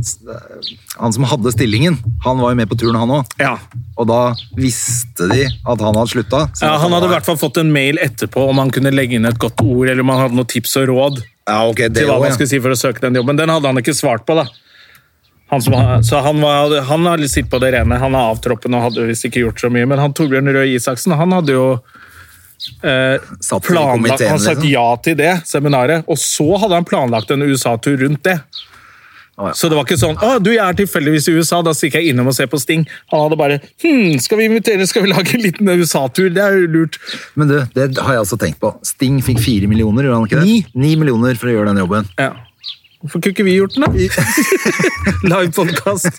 Speaker 1: s- Han som hadde stillingen, han var jo med på turen, han òg.
Speaker 2: Ja.
Speaker 1: Og da visste de at han hadde slutta. så
Speaker 2: ja, Han
Speaker 1: var-
Speaker 2: hadde i hvert fall fått en mail etterpå om han kunne legge inn et godt ord, eller om han hadde noen tips og råd.
Speaker 1: ja, ok, det
Speaker 2: til hva
Speaker 1: også,
Speaker 2: man
Speaker 1: ja.
Speaker 2: skulle si for å søke den jobben. Den hadde han ikke svart på, da. Han som, så han, var, han har litt sitt på det rene. Han er avtroppen og hadde visst ikke gjort så mye. Men han Torbjørn Røe Isaksen han hadde jo eh,
Speaker 1: Satt i
Speaker 2: planlagt,
Speaker 1: komiteen,
Speaker 2: han sagt
Speaker 1: liksom.
Speaker 2: ja til det seminaret. Og så hadde han planlagt en USA-tur rundt det.
Speaker 1: ja.
Speaker 2: Så det var ikke sånn å, du, 'Jeg er tilfeldigvis i USA, da stikker jeg innom og ser på Sting'. Han hadde bare 'Hm, skal vi invitere, skal vi lage en liten USA-tur?' Det er jo lurt.
Speaker 1: Men du, det har jeg også tenkt på. Sting fikk fire millioner, gjorde han ikke det?
Speaker 2: Ni.
Speaker 1: Ni millioner for å gjøre den jobben.
Speaker 2: Ja. Hvorfor kunne ikke vi gjort den, da? Live podcast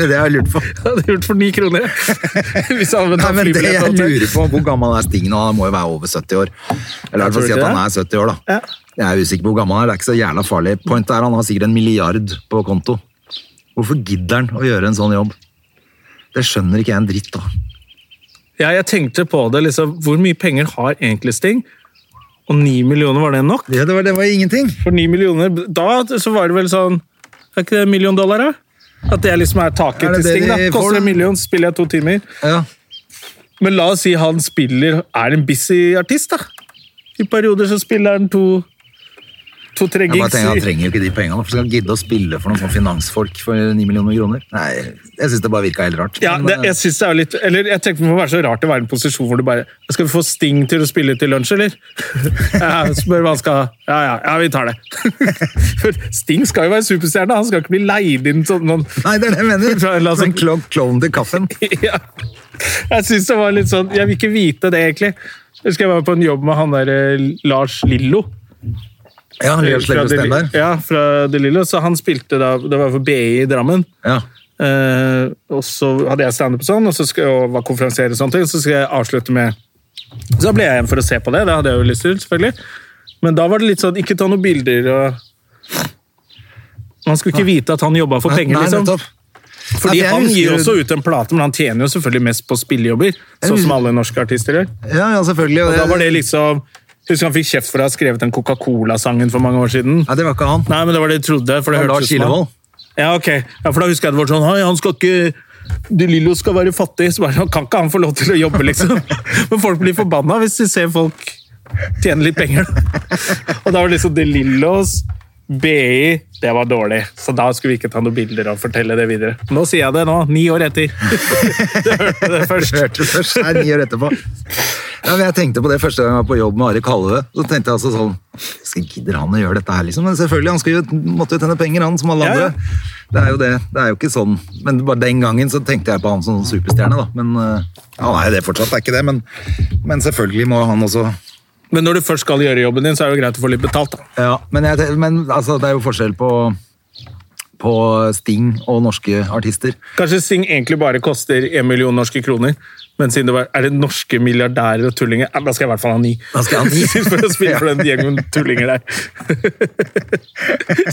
Speaker 1: Det har jeg lurt på.
Speaker 2: Jeg hadde gjort for ni kroner. Hvis jeg hadde
Speaker 1: Nei,
Speaker 2: tatt
Speaker 1: men det
Speaker 2: flybillett.
Speaker 1: jeg
Speaker 2: og alt.
Speaker 1: lurer på, Hvor gammel er Sting nå? Han må jo være over 70 år. Eller i hvert
Speaker 2: tror
Speaker 1: fall si
Speaker 2: ikke
Speaker 1: at han
Speaker 2: det.
Speaker 1: er 70 år, da.
Speaker 2: Ja.
Speaker 1: Jeg er usikker på hvor gammel han er. Det er ikke så jævla farlig. Point er han har sikkert en milliard på konto. Hvorfor gidder han å gjøre en sånn jobb? Det skjønner ikke jeg en dritt av.
Speaker 2: Ja, jeg tenkte på det, liksom, hvor mye penger har egentlig Sting? Og ni millioner, var det nok?
Speaker 1: Det, det, var- det var ingenting.
Speaker 2: For ni millioner, da så var det vel sånn, er ikke det en million dollar da? At det liksom er taket
Speaker 1: Er det
Speaker 2: til
Speaker 1: det
Speaker 2: Sting da.
Speaker 1: de får,
Speaker 2: Koster
Speaker 1: da?
Speaker 2: en million, spiller jeg to timer.
Speaker 1: Ja.
Speaker 2: Men la oss si han spiller, er en busy artist da. I perioder så spiller han to, to-tre
Speaker 1: Jeg bare
Speaker 2: gigs.
Speaker 1: tenker, Han
Speaker 2: i-
Speaker 1: trenger jo ikke de pengene. Hvorfor skal han gidde å spille for noen sånn finansfolk for ni millioner kroner? Nei, Jeg syns det bare virka helt rart.
Speaker 2: Ja,
Speaker 1: Men,
Speaker 2: det,
Speaker 1: eh,
Speaker 2: jeg synes det er jo litt Eller jeg tenker det må være så rart å være i en posisjon hvor du bare Skal vi få Sting til å spille til lunsj, eller? Ja, spør hva han skal Ja, ja, ja, vi tar det. For Sting skal jo være superstjerne, han skal ikke bli leid inn som noen
Speaker 1: Nei, det er det jeg mener.
Speaker 2: Fra- la oss-
Speaker 1: Som klo klovn til kaffen.
Speaker 2: ja. Jeg synes det var litt sånn Jeg vil ikke vite det, egentlig. Jeg husker jeg var på en jobb med han der eh, Lars Lillo.
Speaker 1: Ja, Lars
Speaker 2: Fra
Speaker 1: Lello
Speaker 2: De-
Speaker 1: Stenberg.
Speaker 2: Ja, fra De Lillo. Så han spilte da Det var for BI i Drammen.
Speaker 1: Ja.
Speaker 2: Eh, og så hadde jeg standup og sånn, og så skal jeg og var konferansier og sånne ting, så skal jeg avslutte med Så da ble jeg igjen for å se på det, det hadde jeg jo lyst til, selvfølgelig. Men da var det litt sånn ikke ta noen bilder og Man skulle ikke vite at han jobba for penger,
Speaker 1: Nei,
Speaker 2: liksom.
Speaker 1: nettopp.
Speaker 2: Fordi
Speaker 1: Ja, for jeg
Speaker 2: han gir
Speaker 1: husker-
Speaker 2: også ut en plate, men han tjener jo selvfølgelig mest på spillejobber, sånn som alle norske artister gjør.
Speaker 1: Ja, ja, selvfølgelig.
Speaker 2: Og da var det liksom Husker han fikk kjeft for å ha skrevet den Coca-Cola-sangen for mange år siden?
Speaker 1: Nei, det var ikke han.
Speaker 2: Nei, men det var det jeg trodde, for det
Speaker 1: Det var
Speaker 2: hørtes
Speaker 1: Lars
Speaker 2: ut som han-
Speaker 1: Kilevold.
Speaker 2: Ja, ok. Ja, for da husker jeg det var sånn Hei, han skal ikke De Lillo skal være fattig. Så bare, kan ikke han få lov til å jobbe, liksom? Men folk blir forbanna hvis de ser folk tjene litt penger. Og da var det liksom De Lillos BI, det var dårlig, så da skulle vi ikke ta noen bilder og fortelle det videre. Nå sier jeg det nå, ni år etter. Du hørte det først.
Speaker 1: Hørte det først, nei, ni år etterpå. Ja, men jeg tenkte på det første gang jeg var på jobb med Ari Kalve. Så tenkte jeg altså sånn skal Gidder han å gjøre dette her, liksom? Men selvfølgelig, han skal jo, måtte jo tjene penger, han som alle
Speaker 2: Ja, ja.
Speaker 1: andre. Det er jo det. Det er jo ikke sånn. Men bare den gangen så tenkte jeg på han som superstjerne, da. Men eh, han er jo det fortsatt, det er ikke det. Men, men selvfølgelig må han også
Speaker 2: Men når du først skal gjøre jobben din, så er det jo greit å få litt betalt, da.
Speaker 1: Ja, men, jeg, te- men altså, det er jo forskjell på på Sting og norske artister.
Speaker 2: Kanskje Sting egentlig bare koster en million norske kroner, men siden det var, er det norske milliardærer og tullinger, ja, da skal jeg i hvert fall ha ni.
Speaker 1: Da skal jeg ha ni.
Speaker 2: for å spille for den gjengen tullinger der.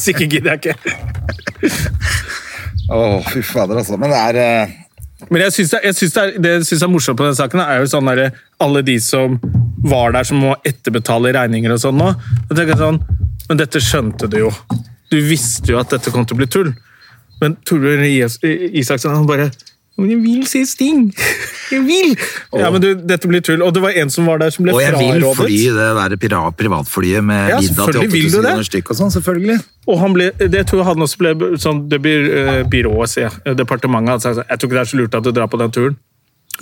Speaker 2: Sikkert gidder jeg ikke.
Speaker 1: Å, fy fader, altså. Men det er eh,
Speaker 2: Men jeg synes det, jeg synes det, er, det jeg synes er morsomt på denne saken, er jo sånn derre Alle de som var der som må etterbetale regninger og sånn nå. Da tenker jeg sånn Men dette skjønte du jo. Du visste jo at dette kom til å bli tull. Men Torbjørn Is- Isaksen han bare men jeg vil se Sting! Jeg vil! Ja, men du, dette blir tull. Og det var en som var der som ble
Speaker 1: Og jeg vil
Speaker 2: frarådet.
Speaker 1: fly det der pira- privatflyet med
Speaker 2: Ja,
Speaker 1: middag til
Speaker 2: selvfølgelig vil du
Speaker 1: 8000
Speaker 2: det.
Speaker 1: kroner stykk og sånn, selvfølgelig.
Speaker 2: Og han ble, det tror jeg han også ble sånn, det blir eh, byrået, sier jeg. Departementet hadde sagt sånn, jeg tror ikke det er så lurt at du drar på den turen.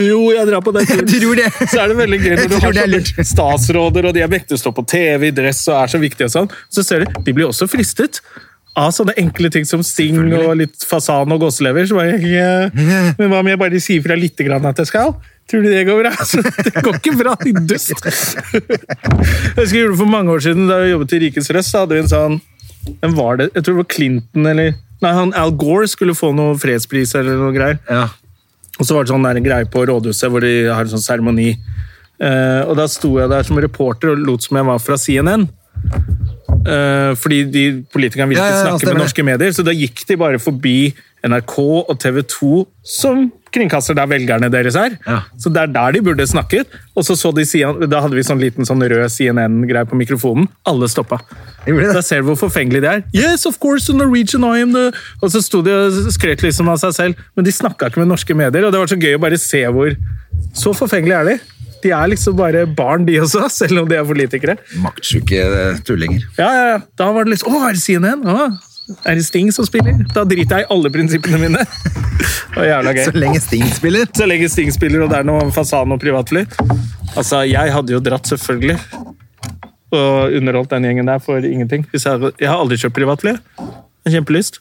Speaker 2: Jo, jeg drar på den turen.
Speaker 1: Jeg tror det.
Speaker 2: Så er det veldig gøy
Speaker 1: Jeg
Speaker 2: når du
Speaker 1: tror
Speaker 2: har
Speaker 1: det er
Speaker 2: sånne statsråder, og de er vektige, står på TV i dress og er så viktige og sånn. Så ser du, de blir også fristet. Av sånne enkle ting som sting og litt fasan og gåselever. Så bare, jeg, eh, men hva om jeg bare sier fra litt grann at jeg skal? Tror du det går bra? Så det går ikke bra, din dust! Jeg husker jeg gjorde det for mange år siden, da jeg jobbet i Rikets Røst, så hadde vi en sånn men var det, jeg tror det var Clinton eller Nei, han Al Gore skulle få noe fredspris eller noe greier.
Speaker 1: Ja.
Speaker 2: Og så var det sånn der greie på rådhuset hvor de har en sånn seremoni. Eh, og da sto jeg der som reporter og lot som jeg var fra CNN. Eh, fordi de politikerne ville
Speaker 1: Ja,
Speaker 2: ikke
Speaker 1: ja, ja,
Speaker 2: snakke
Speaker 1: stemmer
Speaker 2: med
Speaker 1: det.
Speaker 2: norske medier, så da gikk de bare forbi NRK og TV 2, som kringkaster der velgerne deres er.
Speaker 1: Ja.
Speaker 2: Så det er der de burde snakket. Og så så de CNN, da hadde vi sånn liten sånn rød CNN-greie på mikrofonen. Alle stoppa.
Speaker 1: Gjorde de det?
Speaker 2: Da ser du hvor forfengelige de er. Yes, of course, the Norwegian I am the... Og så sto de og skrøt liksom av seg selv, men de snakka ikke med norske medier. Og det var så gøy å bare se hvor Så forfengelige er de. De er liksom bare barn, de også, selv om de er politikere.
Speaker 1: Maktsjuke eh, tullinger.
Speaker 2: Ja, ja, ja. Da var det liksom Å, er det CNN? Å, er det Sting som spiller? Da driter jeg i alle prinsippene mine. Det var jævla gøy.
Speaker 1: Så lenge Sting spiller.
Speaker 2: Så lenge Sting spiller og det er noe fasan og privatfly. Altså, jeg hadde jo dratt, selvfølgelig. Og underholdt den gjengen der for ingenting. Hvis jeg, hadde, jeg har aldri kjøpt privatfly. Jeg har Kjempelyst.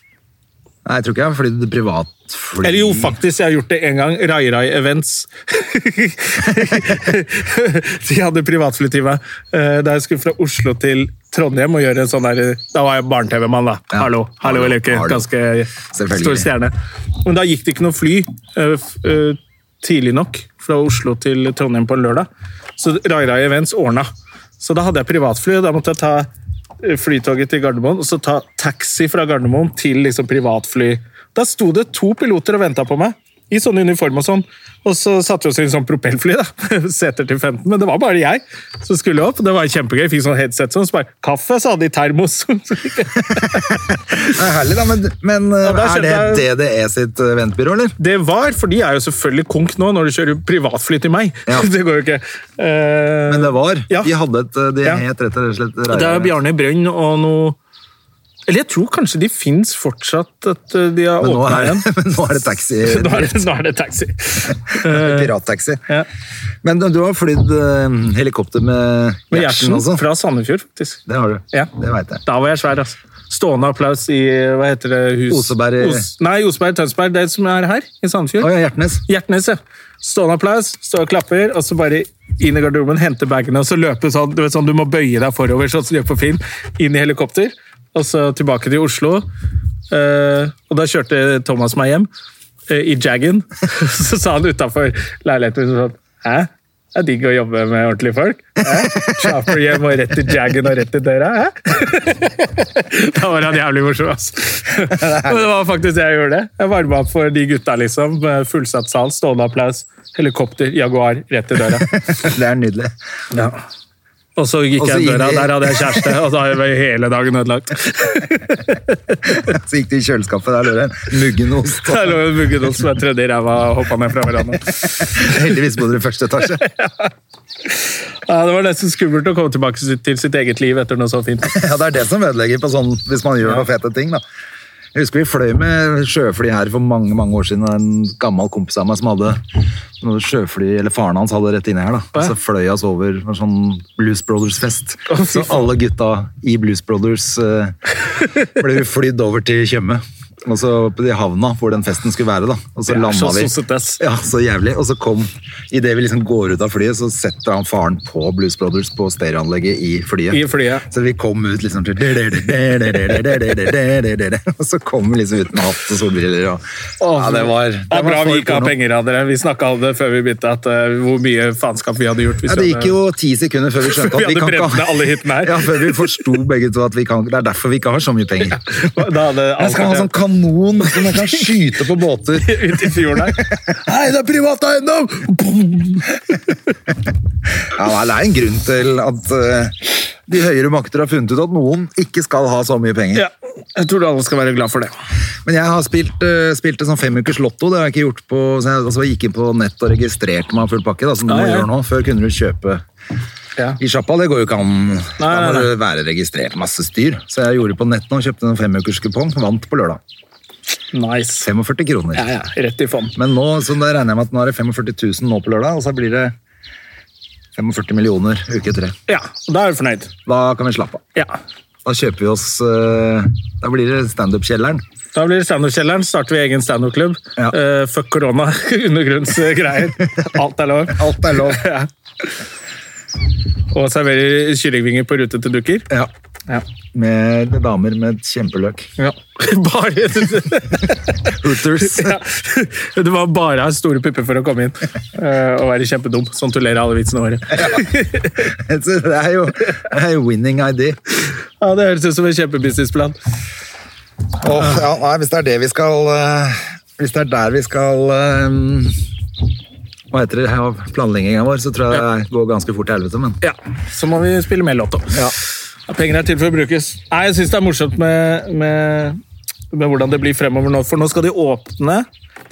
Speaker 1: Nei, jeg tror ikke jeg har flydd privatfly.
Speaker 2: Eller jo, faktisk, jeg har gjort det en gang. Rai Rai Events. De hadde privatflytime eh, da jeg skulle fra Oslo til Trondheim og gjøre en sånn der Da var jeg barne-TV-mann, da.
Speaker 1: Ja.
Speaker 2: Hallo, hallo,
Speaker 1: Hallo,
Speaker 2: eller ikke?
Speaker 1: hallo.
Speaker 2: Ganske
Speaker 1: Selvfølgelig.
Speaker 2: stor stjerne. Men da gikk det ikke noe fly eh, f- eh, tidlig nok fra Oslo til Trondheim på en lørdag, så Rai Rai Events ordna. Så da hadde jeg privatfly, og da måtte jeg ta eh, flytoget til Gardermoen, og så ta taxi fra Gardermoen til liksom privatfly. Da sto det to piloter og venta på meg, i sånn uniform og sånn. Og så satte vi oss i en sånn propellfly, da. seter til 15, men det var bare jeg som skulle opp. Det var kjempegøy. Fikk sånn headset sånn, så bare Kaffe, sa de i termos.
Speaker 1: Det er herlig, da, men, men eh,
Speaker 2: Ja, da
Speaker 1: er det
Speaker 2: skjønte
Speaker 1: DDE sitt eh, eventbyrå, eller?
Speaker 2: Det var, for de er jo selvfølgelig konk nå når de kjører privatfly til meg.
Speaker 1: Ja.
Speaker 2: det går jo ikke. Eh,
Speaker 1: Men det var.
Speaker 2: Ja.
Speaker 1: De hadde et eh, De
Speaker 2: Ja.
Speaker 1: het rett og slett Reir-
Speaker 2: Eh, Det er Bjarne Brønn og noe Eller jeg tror kanskje de fins fortsatt, at eh, de har
Speaker 1: Men nå
Speaker 2: åpna
Speaker 1: er,
Speaker 2: igjen.
Speaker 1: men nå er det taxi.
Speaker 2: Nå er det, nå er det taxi.
Speaker 1: Pirattaxi.
Speaker 2: Ja.
Speaker 1: Men du, du har flydd eh, helikopter med
Speaker 2: Med
Speaker 1: Gjertsen
Speaker 2: Gjertsen
Speaker 1: også?
Speaker 2: fra Sandefjord, faktisk.
Speaker 1: Det har du.
Speaker 2: Ja.
Speaker 1: Det veit jeg.
Speaker 2: Da var jeg svær, altså. Stående applaus i hva heter det, hus...
Speaker 1: Oseberg-
Speaker 2: nei, Oseberg Tønsberg. Det som er her, i Sandefjord.
Speaker 1: Å ja, Hjertnes.
Speaker 2: Hjertnes, ja. Stående applaus, stå og klapper, og så bare inn i garderoben, hente bagene, og så løpe sånn. Du vet sånn, du må bøye deg forover, sånn som du gjør på film. Inn i helikopter, og så tilbake til Oslo. Eh, og da kjørte Thomas meg hjem eh, i Jaggen. så sa han utafor leiligheten min sånn Hæ? Det er digg å jobbe med ordentlige folk. Hæ? Chopper hjem og rett til Jaggen og rett til døra. Hæ? da var han jævlig morsom, altså. Men det var faktisk det jeg gjorde. det. Jeg varma opp for de gutta, liksom. med Fullsatt sal, stående applaus, helikopter, Jaguar, rett i døra.
Speaker 1: Det er nydelig.
Speaker 2: Ja. Og så gikk
Speaker 1: Og så
Speaker 2: jeg i
Speaker 1: inn
Speaker 2: døra,
Speaker 1: i-
Speaker 2: der hadde jeg kjæreste, og da var jo hele dagen ødelagt.
Speaker 1: Så gikk du i kjøleskapet, der lå det en muggenost.
Speaker 2: Der lå en muggen som jeg tredde i ræva og hoppa ned fra verandaen.
Speaker 1: Heldigvis bodde du i første etasje.
Speaker 2: Ja, det var nesten skummelt å komme tilbake sitt- til sitt eget liv etter noe så fint.
Speaker 1: Ja, det er det som ødelegger på sånn, hvis man gjør noen fete ting, da. Jeg husker vi fløy med sjøfly her for mange mange år siden. og En gammel kompis av meg som hadde noe sjøfly, eller faren hans hadde det rett inni her. da. Og så fløy vi oss over det var sånn Blues Brothers-fest. Så alle gutta i Blues Brothers eh, ble vi flydd over til Tjøme. Og så på de havna hvor den festen skulle være. da. Og så
Speaker 2: Det er
Speaker 1: landa
Speaker 2: så
Speaker 1: vi.
Speaker 2: sosset, ass.
Speaker 1: Ja, så jævlig. Og så kom, idet vi liksom går ut av flyet, så setter han faren på Blues Brothers på stereoanlegget i flyet.
Speaker 2: I flyet.
Speaker 1: Så vi kom ut liksom til Og så kom vi liksom ut med hatt og solbriller og Ja, det var
Speaker 2: Det er
Speaker 1: var
Speaker 2: bra
Speaker 1: for
Speaker 2: vi ikke har
Speaker 1: porno.
Speaker 2: penger av dere. Vi snakka om det før vi begynte, at eh, hvor mye faenskap vi hadde gjort. hvis
Speaker 1: Ja, det
Speaker 2: vi
Speaker 1: gikk jo ti sekunder før vi skjønte at
Speaker 2: Vi
Speaker 1: vi
Speaker 2: hadde
Speaker 1: kan ikke
Speaker 2: brent ned alle hyttene her.
Speaker 1: Ja, før vi forsto begge to at vi kan Det er derfor vi ikke har så mye penger.
Speaker 2: hadde- Da hadde
Speaker 1: Jeg skal ha sånn kanon som man kan skyte på båter.
Speaker 2: ut i fjorden her.
Speaker 1: Hei, det er privat eiendom! ja, nei, det er en grunn til at eh, de høyere makter har funnet ut at noen ikke skal ha så mye penger.
Speaker 2: Ja, jeg tror alle skal være glad for det.
Speaker 1: Men jeg har spilt, eh, spilt en sånn femukers lotto. Det har jeg ikke gjort på så jeg, altså, jeg gikk inn på nett og registrerte meg full pakke, da, som du
Speaker 2: Ja,
Speaker 1: må
Speaker 2: ja.
Speaker 1: gjøre nå. Før kunne du kjøpe
Speaker 2: Ja.
Speaker 1: i sjappa. Det går jo ikke an. Da
Speaker 2: Nei,
Speaker 1: må
Speaker 2: nei,
Speaker 1: du være registrert masse styr. Så jeg gjorde det på nett nå. Kjøpte en femukers kupong. Vant på lørdag.
Speaker 2: Nice.
Speaker 1: 45 kroner.
Speaker 2: Ja, ja, rett i fond.
Speaker 1: Men nå så da regner jeg med at nå er det 45 000 nå på lørdag, og så blir det 45 millioner uke tre.
Speaker 2: Ja, da er vi fornøyd.
Speaker 1: Da kan vi slappe av.
Speaker 2: Ja.
Speaker 1: Da kjøper vi oss eh, Da blir det standup-kjelleren.
Speaker 2: Da blir det standup-kjelleren. Starter vi egen standup-klubb.
Speaker 1: Ja.
Speaker 2: Eh, fuck korona, undergrunnsgreier. Alt er lov.
Speaker 1: Alt er lov.
Speaker 2: Ja. Og serverer kyllingvinger på rutete duker.
Speaker 1: Ja.
Speaker 2: Ja.
Speaker 1: Med damer med kjempeløk.
Speaker 2: ja. Bare
Speaker 1: Hooters.
Speaker 2: ja. Du må bare ha store pupper for å komme inn eh, og være kjempedum. Sånn tullerer alle vitsene våre.
Speaker 1: Så det er jo det er jo winning ID.
Speaker 2: Ja, Det høres ut som en kjempebusinessplan.
Speaker 1: Åh, ja, nei, hvis det er det vi skal eh, Hvis det er der vi skal eh, Hva heter det? av Planlegginga vår, så tror jeg det går ganske fort til helvete, men
Speaker 2: Ja, Så må vi spille mer lotto.
Speaker 1: Ja.
Speaker 2: Ja, Penger er til for å brukes. Nei, Jeg syns det er morsomt med, med, med hvordan det blir fremover nå, for nå skal de åpne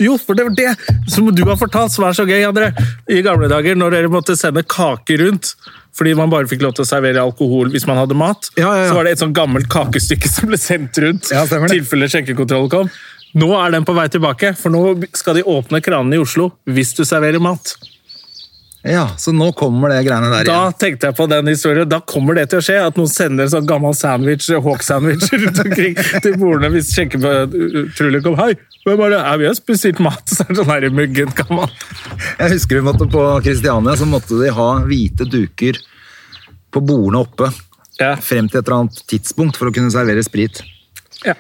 Speaker 2: Jo, for det var det som du har fortalt, som er så gøy, André. I gamle dager, når dere måtte sende kake rundt fordi man bare fikk lov til å servere alkohol hvis man hadde mat,
Speaker 1: Ja, ja, ja.
Speaker 2: så var det et sånn gammelt kakestykke som ble sendt rundt.
Speaker 1: Ja, stemmer det.
Speaker 2: tilfelle skjenkekontrollen kom. Nå er den på vei tilbake, for nå skal de åpne kranene i Oslo hvis du serverer mat.
Speaker 1: Ja, så nå kommer det greiene der
Speaker 2: Da
Speaker 1: igjen.
Speaker 2: tenkte jeg på den historien. Da kommer det til å skje at noen sender en sånn gammel sandwich, Hawk-sandwich rundt omkring til bordene hvis eh, skjenkepatruljen kom. Hei, hvem er det? Ja, vi har spesielt mat. Så er det sånn her i muggen, gammel.
Speaker 1: Jeg husker vi måtte på Kristiania, så måtte de ha hvite duker på bordene oppe
Speaker 2: Ja.
Speaker 1: frem til et eller annet tidspunkt for å kunne servere sprit.
Speaker 2: Ja.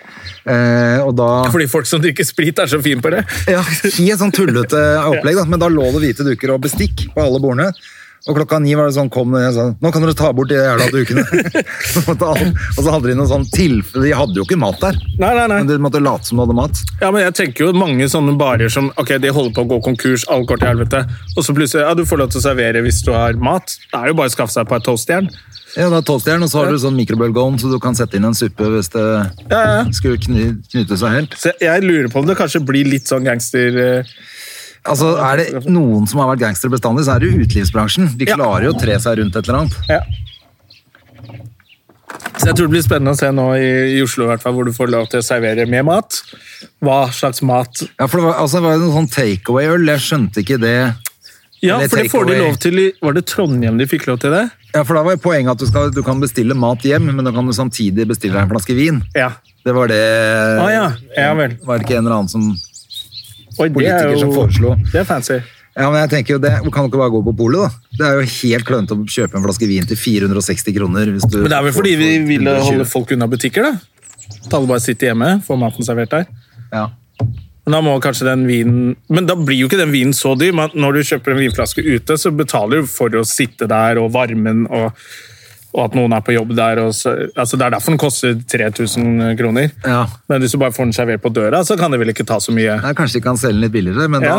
Speaker 1: Eh, og da
Speaker 2: Fordi folk som drikker sprit er så fine på det.
Speaker 1: Ja, helt sånn tullete opplegg, da. men da lå det hvite duker og bestikk på alle bordene. Og klokka ni var det sånn, kom det en sånn, nå kan dere ta bort de jævla dukene. Så måtte alle- og så hadde de noe sånn tilfelle, de hadde jo ikke mat der,
Speaker 2: Nei, nei, nei.
Speaker 1: men de måtte late som de hadde mat.
Speaker 2: Ja, men jeg tenker jo mange sånne barer som ok, de holder på å gå konkurs, alle går til helvete, og så plutselig ja, du får lov til å servere hvis du har mat. Da er det jo bare å skaffe seg et par toastjern.
Speaker 1: Ja, da toastjern, og så har du sånn mikrobølgeovn, så du kan sette inn en suppe hvis det
Speaker 2: Ja, ja.
Speaker 1: skulle kny, knyte seg helt.
Speaker 2: Så jeg lurer på om det kanskje blir litt sånn gangster... eh,
Speaker 1: Altså, er det noen som har vært gangster bestandig, så er det jo utelivsbransjen. De
Speaker 2: Ja.
Speaker 1: klarer jo å tre seg rundt et eller annet.
Speaker 2: Ja. Så jeg tror det blir spennende å se nå i, i Oslo, i hvert fall, hvor du får lov til å servere med mat. Hva slags mat
Speaker 1: Ja, for det var, altså, det var jo noe sånn takeaway-øl, jeg skjønte ikke det.
Speaker 2: Ja,
Speaker 1: Eller
Speaker 2: for det får de
Speaker 1: takeaway.
Speaker 2: lov til i Var det Trondheim de fikk lov til det?
Speaker 1: Ja, for da var jo poenget at du, skal, du kan bestille mat hjem, men da kan du samtidig bestille deg en flaske vin.
Speaker 2: Ja.
Speaker 1: Det var det
Speaker 2: Ah, ja. ja vel.
Speaker 1: Var det ikke en eller annen som
Speaker 2: Oi, det er
Speaker 1: Politiker
Speaker 2: jo
Speaker 1: som foreslo.
Speaker 2: Det er fancy.
Speaker 1: Ja, men jeg tenker jo det Kan du ikke bare gå på polet, da? Det er jo helt klønete å kjøpe en flaske vin til 460 kroner. Hvis du
Speaker 2: Men det er vel fordi vi
Speaker 1: får-
Speaker 2: ville holde
Speaker 1: 120.
Speaker 2: folk unna butikker, da. At alle bare sitter hjemme, får maten servert der.
Speaker 1: Ja.
Speaker 2: Men da må kanskje den vinen Men da blir jo ikke den vinen så dyr. Men når du kjøper en vinflaske ute, så betaler du for å sitte der og varmen og, og at noen er på jobb der. Og så, altså det er derfor den koster 3000 kroner.
Speaker 1: Ja.
Speaker 2: Men hvis du bare får den servert på døra, så kan det vel ikke ta så mye.
Speaker 1: Nei, kanskje de kan selge den litt billigere, men da,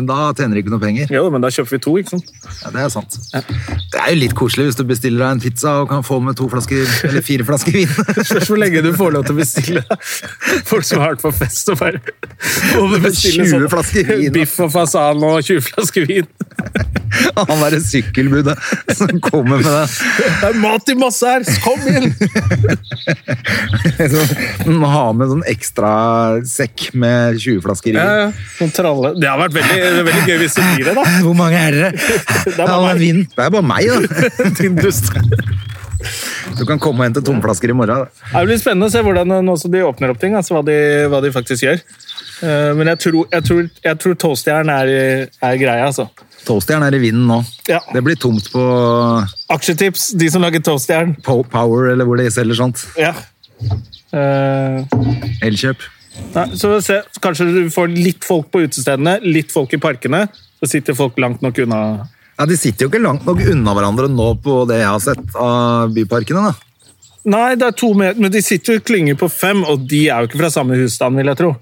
Speaker 1: da tjener de ikke noe penger.
Speaker 2: Jo, men da kjøper vi to, ikke sant?
Speaker 1: Ja, det er sant. Det er jo litt koselig hvis du bestiller deg en pizza og kan få med to flasker, eller fire flasker vin.
Speaker 2: Spørs hvor lenge du får lov til å bestille. Folk som har vært på fest og bare og bestiller sånn
Speaker 1: 20 flasker vin, da.
Speaker 2: biff og fasan og 20 flasker vin.
Speaker 1: Han derre sykkelbudet som kommer med deg.
Speaker 2: Det er mat i masse her! Kom igjen!
Speaker 1: Liksom, ha med sånn ekstra sekk med 20 flasker i.
Speaker 2: Ja, ja. Noen tralle. Det har vært veldig, det er veldig gøy hvis du blir det, da.
Speaker 1: Hvor mange er dere?
Speaker 2: er
Speaker 1: Ja,
Speaker 2: bare
Speaker 1: men
Speaker 2: meg.
Speaker 1: vin. Det er bare meg, da.
Speaker 2: Din dust. Det
Speaker 1: Du kan komme og hente tomflasker i morgen. da.
Speaker 2: blir spennende å se hvordan eh, nå som de åpner opp ting, altså hva de, hva de faktisk gjør. Eh, Men jeg tror, jeg tror, jeg tror toastjern er, er greia, altså.
Speaker 1: Toastjern er i vinden nå.
Speaker 2: Ja.
Speaker 1: Det blir tomt på
Speaker 2: Aksjetips, de som lager toastjern.
Speaker 1: Po- Power eller hvor de selger sånt.
Speaker 2: Ja. Eh,
Speaker 1: Elkjøp.
Speaker 2: Nei, så vi får se. Kanskje du får litt folk på utestedene, litt folk i parkene. Så sitter folk langt nok unna.
Speaker 1: Ja, De sitter jo ikke langt nok unna hverandre nå på det jeg har sett av byparkene. da.
Speaker 2: Nei, det er to mer, men de sitter jo i klynger på fem, og de er jo ikke fra samme husstand, vil jeg tro.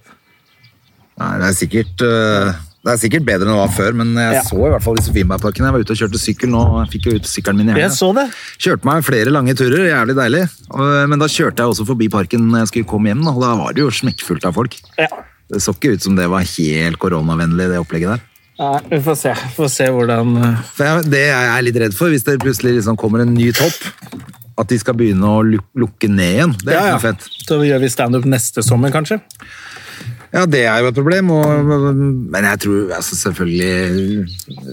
Speaker 1: Nei, det er sikkert... øh, Det er sikkert bedre enn det var før, men jeg
Speaker 2: Ja.
Speaker 1: så i hvert fall Sofienbergparken. Jeg var ute og kjørte sykkel nå, og jeg fikk jo ut sykkelen min i
Speaker 2: Jeg
Speaker 1: helga.
Speaker 2: så det.
Speaker 1: Kjørte meg flere lange turer, jævlig deilig. Og- eh, Men da kjørte jeg også forbi parken når jeg skulle komme hjem, da, og da var det jo smekkfullt av folk.
Speaker 2: Ja.
Speaker 1: Det så ikke ut som det var helt koronavennlig, det opplegget der.
Speaker 2: Nei, vi får se. Vi får se hvordan eh,
Speaker 1: For jeg, det jeg er litt redd for, hvis det plutselig liksom kommer en ny topp, at de skal begynne å luk lukke ned igjen. Det er
Speaker 2: ja, ja.
Speaker 1: ikke noe fett.
Speaker 2: Så gjør vi standup neste sommer, kanskje.
Speaker 1: Ja, det er jo et problem, og, men jeg tror altså, selvfølgelig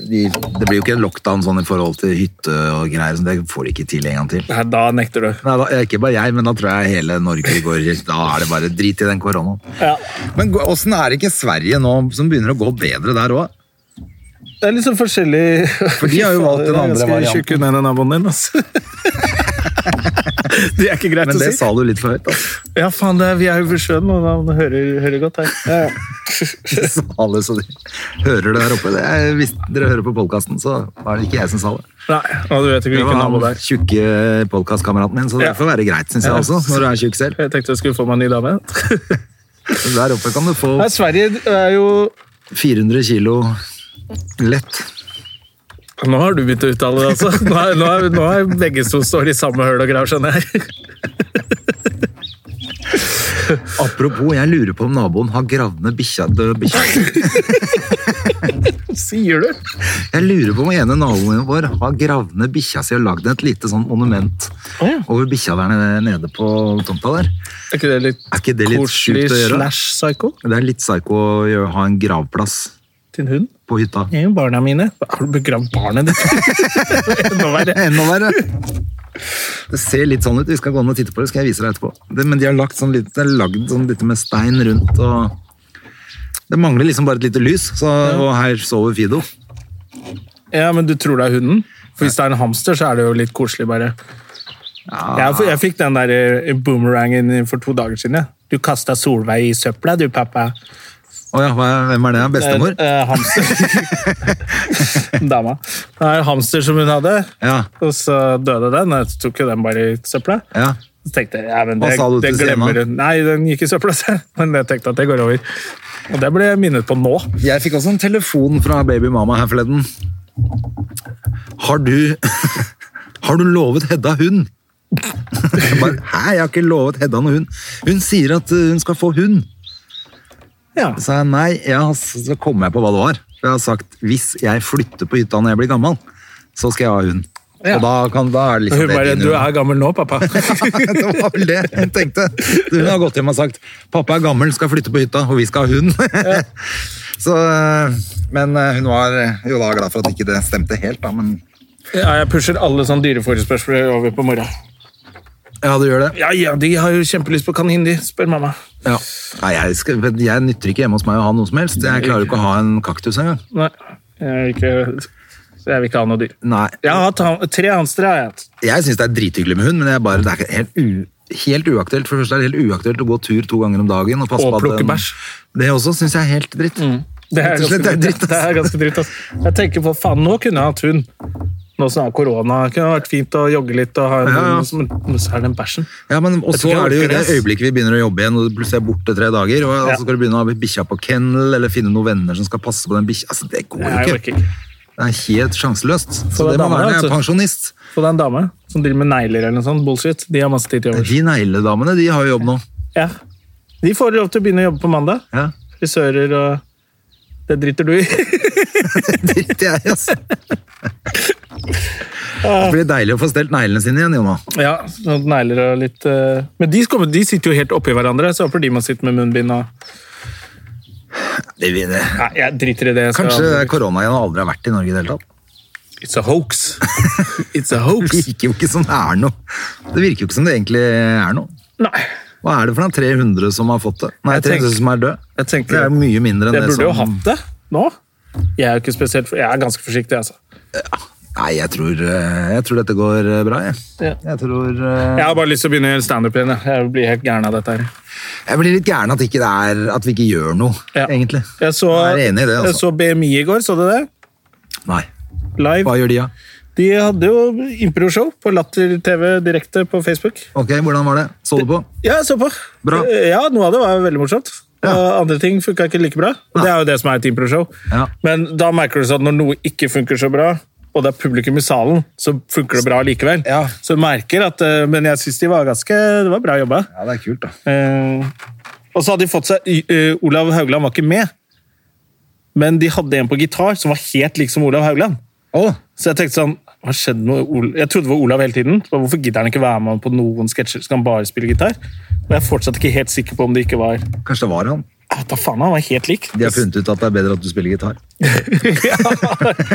Speaker 1: de, Det blir jo ikke en lockdown sånn i forhold til hytte og greier, så det får de ikke til en gang til.
Speaker 2: Nei, da nekter du.
Speaker 1: Nei, da, ikke bare jeg, men da tror jeg hele Norge går Da er det bare drit i den koronaen.
Speaker 2: Ja.
Speaker 1: Men gå- åssen er det ikke Sverige nå som begynner å gå bedre der òg?
Speaker 2: Det er litt sånn forskjellig
Speaker 1: For de har jo valgt den
Speaker 2: Det er
Speaker 1: andre
Speaker 2: ganske
Speaker 1: varianten.
Speaker 2: tjukk under den naboen din, altså. Det er ikke greit
Speaker 1: Men
Speaker 2: å
Speaker 1: det
Speaker 2: si.
Speaker 1: sa du litt for høyt. Altså.
Speaker 2: Ja, faen, det er, vi er jo ved sjøen, og han hører, hører godt her. Ja, ja.
Speaker 1: Det sa du, så de hører det der oppe. Det er, hvis dere hører på podkasten, så var det ikke jeg som sa det.
Speaker 2: Nei, og du vet ikke
Speaker 1: Det
Speaker 2: hvilken
Speaker 1: var
Speaker 2: nabo det
Speaker 1: han
Speaker 2: er.
Speaker 1: tjukke podkastkameraten min, så det
Speaker 2: Ja.
Speaker 1: får være greit, syns jeg
Speaker 2: Ja.
Speaker 1: også, når du er tjukk selv.
Speaker 2: Jeg tenkte jeg skulle få meg en ny dame.
Speaker 1: Der oppe kan du få
Speaker 2: Nei, Sverige er jo
Speaker 1: 400 kilo lett.
Speaker 2: Nå har du begynt å uttale det, altså. Nå er, nå er, nå er begge som står i samme høl og grav, skjønner jeg.
Speaker 1: Apropos, jeg lurer på om naboen har gravd ned bikkja død bikkja.
Speaker 2: Sier du?
Speaker 1: Jeg lurer på om ene naboen vår har gravd ned bikkja si og lagd et lite sånn monument
Speaker 2: Å ja.
Speaker 1: over bikkja der nede- nede på tomta der.
Speaker 2: Er ikke det litt
Speaker 1: Er ikke det litt
Speaker 2: koselig
Speaker 1: sjukt å gjøre?
Speaker 2: slash psycho?
Speaker 1: Det er litt psyko å gjøre- ha en gravplass
Speaker 2: Din hund?
Speaker 1: på hytta.
Speaker 2: Det er jo barna mine. Har du begravd barnet ditt? Enda verre.
Speaker 1: Enda verre. Det ser litt sånn ut. Vi skal gå ned og titte på det, skal jeg vise deg etterpå. Det, men de har lagt sånn litt, det er lagd sånn litt med stein rundt, og det mangler liksom bare et lite lys, så, og her sover Fido.
Speaker 2: Ja, men du tror det er hunden? For hvis det er en hamster, så er det jo litt koselig, bare. Jeg, jeg fikk den der eh, boomerangen for to dager siden. jeg. Du kasta Solveig i søpla, du, pappa.
Speaker 1: Å ja, hva- hvem er det? Bestemor?
Speaker 2: Eh, eh, hamster. Dama. Det er hamster som hun hadde,
Speaker 1: Ja.
Speaker 2: og så døde den. Jeg tok jo den bare i søpla.
Speaker 1: ja.
Speaker 2: Så tenkte jeg, ja, men
Speaker 1: Hva
Speaker 2: det,
Speaker 1: sa du
Speaker 2: det
Speaker 1: til Stina?
Speaker 2: glemmer hun. Nei, den gikk i søpla, sa jeg. men jeg tenkte at det går over. Og det ble jeg minnet på nå.
Speaker 1: Jeg fikk også en telefon fra babymama her forleden. Har du Har du lovet Hedda hund? Jeg bare, Hæ, jeg har ikke lovet Hedda noe hund. Hun sier at eh, hun skal få hund.
Speaker 2: Ja.
Speaker 1: Så sa jeg nei, jeg har, så kom jeg på hva det var. For jeg har sagt hvis jeg flytter på hytta når jeg blir gammel, så skal jeg ha hund.
Speaker 2: Ja.
Speaker 1: Og da, kan, da er det
Speaker 2: Hun
Speaker 1: liksom det
Speaker 2: bare
Speaker 1: din
Speaker 2: Du
Speaker 1: hund.
Speaker 2: er gammel nå, pappa.
Speaker 1: det var vel det hun tenkte. Hun har gått hjem og sagt pappa er gammel, skal flytte på hytta, og vi skal ha hund. så, eh, men hun var eh, jo da glad for at ikke det stemte helt, da. Men
Speaker 2: Ja, jeg pusher alle sånne dyreforespørsler over på morgenen.
Speaker 1: ja, du gjør det.
Speaker 2: Ja, ja, de har jo kjempelyst på kanin, de, spør mamma.
Speaker 1: Ja. Nei, jeg, skal, jeg nytter ikke hjemme hos meg å ha noe som helst. Jeg klarer jo ikke å ha en kaktus engang.
Speaker 2: Nei, jeg vil ikke, så jeg vil ikke ha noe dyr.
Speaker 1: Nei.
Speaker 2: Jeg har hatt han- tre hamstere, har jeg hatt.
Speaker 1: Jeg syns det er drithyggelig med hund, men jeg bare, det er ikke helt, u, helt uaktuelt. For det første er det helt uaktuelt å gå tur to ganger om dagen og passe
Speaker 2: Og
Speaker 1: på at
Speaker 2: plukke
Speaker 1: den-
Speaker 2: bæsj.
Speaker 1: Det også syns jeg er helt dritt.
Speaker 2: Det er
Speaker 1: Rett og slett,
Speaker 2: ganske
Speaker 1: det er
Speaker 2: dritt.
Speaker 1: dritt, altså. ass.
Speaker 2: Det er ganske dritt ass. Jeg tenker på faen, nå kunne jeg hatt hund. Nå som det er korona, det kunne vært fint å jogge litt og ha en,
Speaker 1: Ja, ja.
Speaker 2: men- men så er den bæsjen.
Speaker 1: Ja, men
Speaker 2: Jeg
Speaker 1: også
Speaker 2: tror ikke jeg
Speaker 1: er det jo
Speaker 2: orker
Speaker 1: det
Speaker 2: det, ass.
Speaker 1: øyeblikket vi begynner å jobbe igjen, og du plutselig er borte tre dager, og og
Speaker 2: Ja.
Speaker 1: så skal du begynne å ha bikkja på kennel, eller finne noen venner som skal passe på den bikkja. Altså, det går jo
Speaker 2: Nei, Jeg
Speaker 1: ikke.
Speaker 2: orker ikke.
Speaker 1: Det er helt sjanseløst. Så
Speaker 2: det er
Speaker 1: det må
Speaker 2: damer,
Speaker 1: være når jeg
Speaker 2: altså.
Speaker 1: er pensjonist.
Speaker 2: Så det er en dame som driver med negler eller noe sånt. Bullshit. De har masse tid til å jobbe.
Speaker 1: De negledamene, de har jo jobb nå.
Speaker 2: Ja. De får lov til å begynne å jobbe på mandag.
Speaker 1: Ja.
Speaker 2: Frisører og Det driter du i.
Speaker 1: Dritt jeg, altså.
Speaker 2: Ah.
Speaker 1: Det blir deilig å få stelt neglene sine igjen, Jonna.
Speaker 2: ja, sånn negler og litt eh, Men de, kommer, de sitter jo helt oppi hverandre, så jeg håper de må sitte med munnbind og
Speaker 1: Det vil det.
Speaker 2: Nei, jeg driter i det. jeg skal-
Speaker 1: Kanskje det er korona igjen aldri har vært i Norge i det hele tatt.
Speaker 2: It's a hoax. It's a
Speaker 1: Det
Speaker 2: hoax.
Speaker 1: virker jo ikke som det er noe. Det virker jo ikke som det egentlig er noe.
Speaker 2: Nei.
Speaker 1: Hva er det for noen 300 som har fått det? Nei,
Speaker 2: Jeg
Speaker 1: 300
Speaker 2: tenker-
Speaker 1: som er død.
Speaker 2: Jeg tenker-
Speaker 1: det er jo mye mindre enn
Speaker 2: Jeg
Speaker 1: det som
Speaker 2: burde jo hatt det nå. Jeg er jo ikke spesielt Jeg er ganske forsiktig, altså.
Speaker 1: Nei, jeg tror, eh, jeg tror dette går eh, bra, jeg.
Speaker 2: Ja.
Speaker 1: Jeg tror eh,
Speaker 2: Jeg har bare lyst til å begynne å gjøre standup igjen. jeg. Jeg blir helt gæren av dette her.
Speaker 1: Jeg blir litt gæren at, ikke det er, at vi ikke gjør noe,
Speaker 2: Ja.
Speaker 1: egentlig.
Speaker 2: Jeg så,
Speaker 1: Jeg er enig i det, altså.
Speaker 2: jeg så BMI i går, så du det?
Speaker 1: Nei. Hva
Speaker 2: Live.
Speaker 1: gjør de, da?
Speaker 2: De hadde jo impro-show på Latter TV direkte på Facebook.
Speaker 1: Ok, hvordan var det? Så du på?
Speaker 2: Ja, jeg så på.
Speaker 1: Bra.
Speaker 2: Ja, Noe av det var veldig morsomt.
Speaker 1: Ja.
Speaker 2: Og andre ting funka ikke like bra. Og Det er jo det som er et impro-show.
Speaker 1: Ja.
Speaker 2: Men da merker du sånn at når noe ikke funker så bra, og det er publikum i salen, så funker det bra likevel.
Speaker 1: Ja.
Speaker 2: Så du merker at, eh, Men jeg syns de var ganske Det var bra jobba.
Speaker 1: Ja, det er kult, da.
Speaker 2: Eh, og så hadde de fått seg eh, Olav Haugland var ikke med, men de hadde en på gitar som var helt lik som Olav Haugland.
Speaker 1: Å,
Speaker 2: Så jeg tenkte sånn hva skjedde med Ol Jeg trodde det var Olav hele tiden. Så Hvorfor gidder han ikke være med på noen sketsjer? Skal han bare spille gitar? Og jeg er fortsatt ikke helt sikker på om det ikke var Jeg
Speaker 1: kanskje det var han.
Speaker 2: vet Da faen, han var helt lik.
Speaker 1: De har funnet ut at det er bedre at du spiller gitar.
Speaker 2: Ja.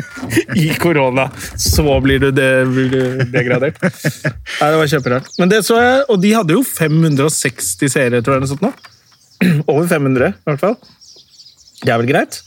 Speaker 2: I korona. Så blir du, de blir du degradert. Nei, det var kjemperart. Men det så jeg, og de hadde jo 560 seere, tror jeg. Eller sånt nå. Over 500, i hvert fall. Det er vel greit?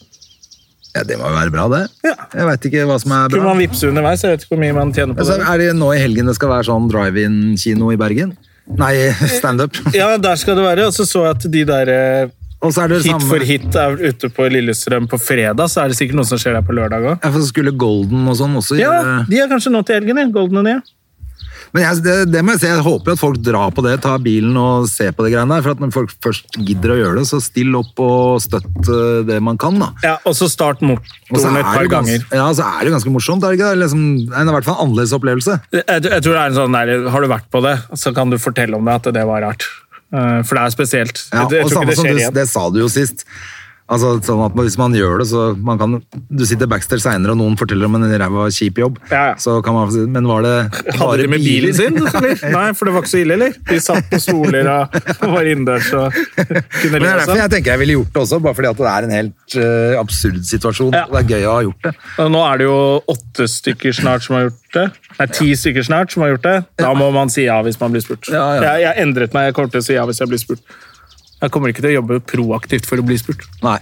Speaker 1: Ja, Det må jo være bra, det.
Speaker 2: Ja.
Speaker 1: Jeg veit ikke hva som er
Speaker 2: Kunne
Speaker 1: bra.
Speaker 2: man vippse underveis? Jeg vet ikke hvor mye man tjener på
Speaker 1: Altså,
Speaker 2: det.
Speaker 1: er det nå i helgen det skal være sånn drive-in-kino i Bergen? Nei, standup.
Speaker 2: Ja, der skal det være. Og så så jeg at de der eh,
Speaker 1: Og så er det det
Speaker 2: Hit
Speaker 1: samme
Speaker 2: for hit er ute på Lillestrøm på fredag, så er det sikkert noe som skjer der på lørdag òg.
Speaker 1: Ja, for så skulle Golden og sånn også
Speaker 2: Ja,
Speaker 1: gjøre
Speaker 2: de er kanskje nå til helgen, ja. Golden og Nia.
Speaker 1: Men jeg, det, det må jeg si, jeg håper jo at folk drar på det, tar bilen og ser på det greiene der. For at når folk først gidder å gjøre det, så still opp og støtt eh, det man kan, da.
Speaker 2: Ja, og så start
Speaker 1: Og så
Speaker 2: motoren et
Speaker 1: er
Speaker 2: par
Speaker 1: det gans-
Speaker 2: ganger.
Speaker 1: Ja, så er det jo ganske morsomt. er det ikke det? Liksom, en, I hvert fall en annerledes opplevelse.
Speaker 2: Jeg, jeg tror det er en sånn der, Har du vært på det, så kan du fortelle om det at det var rart. Eh, For det er spesielt.
Speaker 1: Ja,
Speaker 2: jeg, jeg
Speaker 1: og
Speaker 2: tror
Speaker 1: samme
Speaker 2: ikke det
Speaker 1: som
Speaker 2: skjer
Speaker 1: du,
Speaker 2: igjen.
Speaker 1: det sa du jo sist. Altså, sånn at Hvis man gjør det, så man kan, du sitter backstage seinere og noen forteller om en ræva kjip jobb,
Speaker 2: Ja, ja.
Speaker 1: så kan man si Men var det
Speaker 2: Hadde de med bilen
Speaker 1: biler?
Speaker 2: sin? Eller? Nei, for det var ikke så ille, eller? De satt på stoler og og var innendørs og kunne
Speaker 1: Men det er
Speaker 2: le og
Speaker 1: derfor
Speaker 2: sånn.
Speaker 1: jeg tenker jeg ville gjort det også, bare fordi at det er en helt eh, absurd situasjon.
Speaker 2: Ja.
Speaker 1: og Det er gøy å ha gjort det.
Speaker 2: Og Nå er det jo åtte stykker snart som har gjort det. Nei, ti stykker snart som har gjort det. Da må man si ja hvis man blir spurt.
Speaker 1: Ja, ja.
Speaker 2: Jeg, jeg endret meg. Jeg kommer til å si ja hvis jeg blir spurt. Jeg kommer ikke til å jobbe proaktivt for å bli spurt.
Speaker 1: Nei.